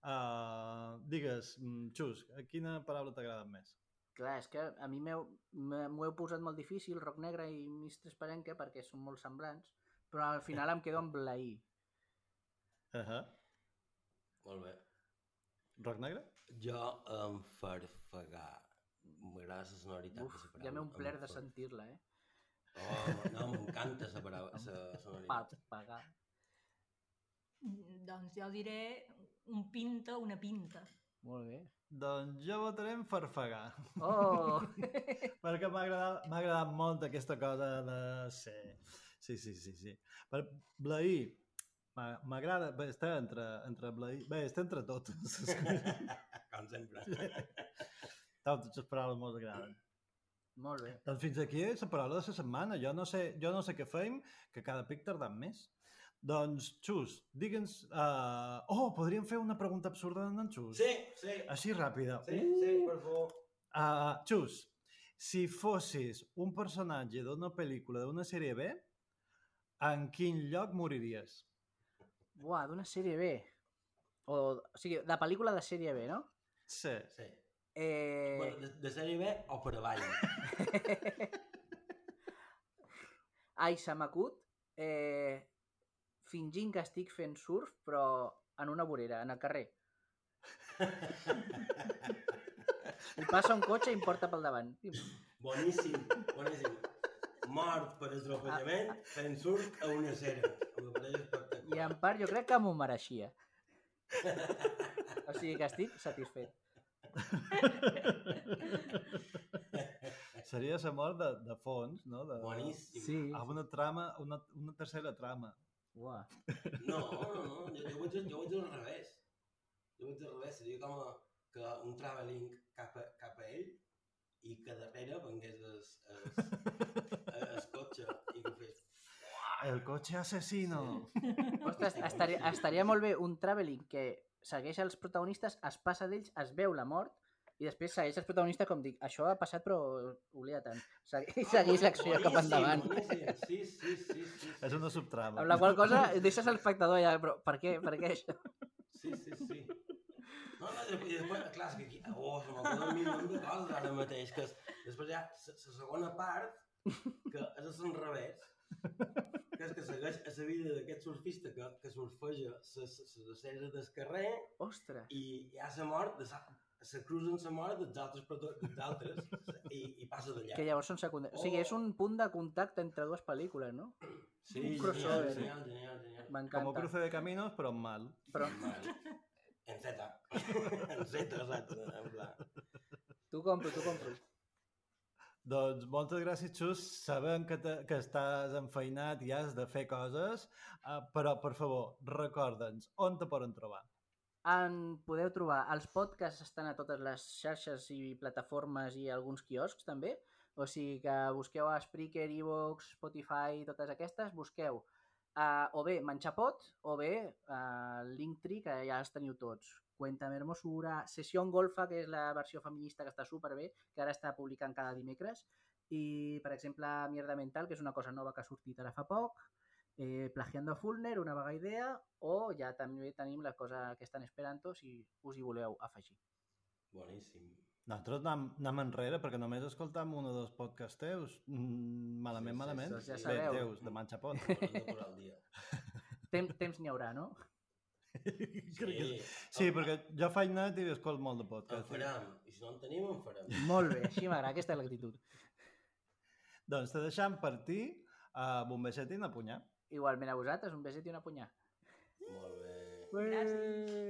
[SPEAKER 3] Uh, digues, mm, Xus, quina paraula t'agrada més?
[SPEAKER 13] Clar, és que a mi m'heu- m'he- m'ho heu posat molt difícil, Roc Negre i Mistres Perenque, perquè són molt semblants, però al final em quedo amb Blair.
[SPEAKER 3] Uh -huh.
[SPEAKER 14] Molt bé.
[SPEAKER 3] Roc negre?
[SPEAKER 14] Jo em farfegar. M'agrada la sonoritat
[SPEAKER 13] Uf,
[SPEAKER 14] de la paraula.
[SPEAKER 13] ja m'he omplert de
[SPEAKER 14] Em farfegar.
[SPEAKER 13] sentir-la, eh?
[SPEAKER 14] Oh, no, m'encanta la paraula, la sonoritat.
[SPEAKER 13] Farfegar.
[SPEAKER 7] Mm, Doncs jo diré un pinta, una pinta.
[SPEAKER 13] Molt bé.
[SPEAKER 3] Doncs jo votaré en farfegar.
[SPEAKER 13] Oh!
[SPEAKER 3] Perquè m'ha agradat, m'ha agradat molt aquesta cosa de ser. Sí, sí, sí, sí. Per Blair, m'a- m'agrada... Bé, està entre, entre Blair... Bé, està entre totes.
[SPEAKER 14] Com sempre.
[SPEAKER 3] Totes les paraules molt agraden.
[SPEAKER 13] Molt bé.
[SPEAKER 3] Doncs fins aquí la paraula de la setmana. Jo no sé, jo no sé què feim, que cada pic tardem més. Doncs, Xus, digue'ns... Uh... Oh, podríem fer una pregunta absurda d'en Xus?
[SPEAKER 14] Sí, sí.
[SPEAKER 3] Així ràpida.
[SPEAKER 14] Sí, sí, per favor.
[SPEAKER 3] Uh, Xus, si fossis un personatge d'una pel·lícula d'una sèrie B, En quin lloc moriries?
[SPEAKER 13] Buah, d'una sèrie B. O, o sigui, de pel·lícula de sèrie B, no?
[SPEAKER 3] Sí.
[SPEAKER 14] Sí.
[SPEAKER 13] Eh...
[SPEAKER 14] Bueno, de, de sèrie B o per avall.
[SPEAKER 13] Ai, se m'acut. Eh... Fingint que estic fent surf, però en una vorera, en el carrer. I passa un cotxe i em porta pel davant.
[SPEAKER 14] Boníssim, boníssim. Mort per atropellament,
[SPEAKER 13] Ah.
[SPEAKER 14] fent surf a una cera. Em pareix espectacular.
[SPEAKER 13] I en part jo crec que m'ho mereixia. O sigui que estic satisfet.
[SPEAKER 3] Seria la mort de, de fons, no? De,
[SPEAKER 14] Boníssim.
[SPEAKER 13] Sí.
[SPEAKER 3] Amb una trama, una, una tercera trama.
[SPEAKER 13] Uah.
[SPEAKER 14] No, no, no, jo, jo, vaig, jo vaig al revés. Jo vaig al revés, seria com a, que un travelling cap a, cap a ell i que darrere vengués es, es, es, es cotxe i que fes...
[SPEAKER 3] Ah, El cotxe asesino.
[SPEAKER 13] Ostres, estaria, estaria molt bé un travelling que segueix els protagonistes, es passa d'ells, es veu la mort, i després segueix els protagonistes com dic, això ha passat però oblida tant.
[SPEAKER 14] Ah,
[SPEAKER 13] Segueix, segueix l'acció cap endavant.
[SPEAKER 14] Boníssim, sí, sí, sí, sí.
[SPEAKER 3] És una subtrama.
[SPEAKER 13] Amb la qual cosa deixes l'espectador allà, però per què, per què això?
[SPEAKER 14] Sí, sí, sí. No, no, i després, clar, és que aquí, oh, se m'acorda un milió de coses ara mateix, que és, després hi ha la segona part, que és a l'enrevés, que és que segueix a la vida d'aquest surfista que, que surfeja les ceres del carrer
[SPEAKER 13] Ostres.
[SPEAKER 14] i hi ha la mort, de sa, se cruzen la mort dels altres, proto- dels altres i, i passa d'allà.
[SPEAKER 13] Que llavors són secundaris. O sigui, és un punt de contacte entre dues pel·lícules, no?
[SPEAKER 14] Sí,
[SPEAKER 13] un
[SPEAKER 14] genial,
[SPEAKER 13] crossover.
[SPEAKER 14] genial, genial, genial.
[SPEAKER 3] Como
[SPEAKER 13] M'encanta.
[SPEAKER 3] cruce de caminos, però amb mal.
[SPEAKER 13] Però...
[SPEAKER 14] En Z. en Z, exacte. En pla.
[SPEAKER 13] Tu compro, tu compro.
[SPEAKER 3] Doncs moltes gràcies, Xus. Sabem que, te, que estàs enfeinat i has de fer coses, eh, però, per favor, recorda'ns on te poden trobar.
[SPEAKER 13] En podeu trobar. Els podcasts estan a totes les xarxes i plataformes i alguns quioscs, també. O sigui que busqueu a Spreaker, Evox, Spotify, totes aquestes, busqueu uh, o bé Menjapot o bé uh, Linktree, que ja els teniu tots. Cuéntame Hermosura, Session Golfa, que és la versió feminista que està superbé, que ara està publicant cada dimecres, i, per exemple, Mierda Mental, que és una cosa nova que ha sortit ara fa poc, eh, Plagiando a Fulner, Una vaga idea, o ja també tenim la cosa que estan esperant si us hi voleu afegir.
[SPEAKER 14] Boníssim.
[SPEAKER 3] Nosaltres anem, anem enrere perquè només escoltam un o dos podcasts teus. Mm, malament,
[SPEAKER 13] Sí, sí,
[SPEAKER 3] malament.
[SPEAKER 13] sí, ja
[SPEAKER 3] Bé,
[SPEAKER 13] sabeu.
[SPEAKER 3] teus, de manxa pot.
[SPEAKER 13] Tem, temps n'hi haurà, no?
[SPEAKER 3] Sí, sí perquè jo faig net i escolto molt de eh.
[SPEAKER 14] En
[SPEAKER 3] podcast.
[SPEAKER 14] farem. I si no en tenim, en farem.
[SPEAKER 13] Molt bé, així m'agrada, aquesta és l'actitud.
[SPEAKER 3] Doncs te deixem partir a Bombaixet i Napunyà.
[SPEAKER 13] Igualment a vosaltres, un beset i una punyà.
[SPEAKER 14] Molt bé.
[SPEAKER 13] Gràcies.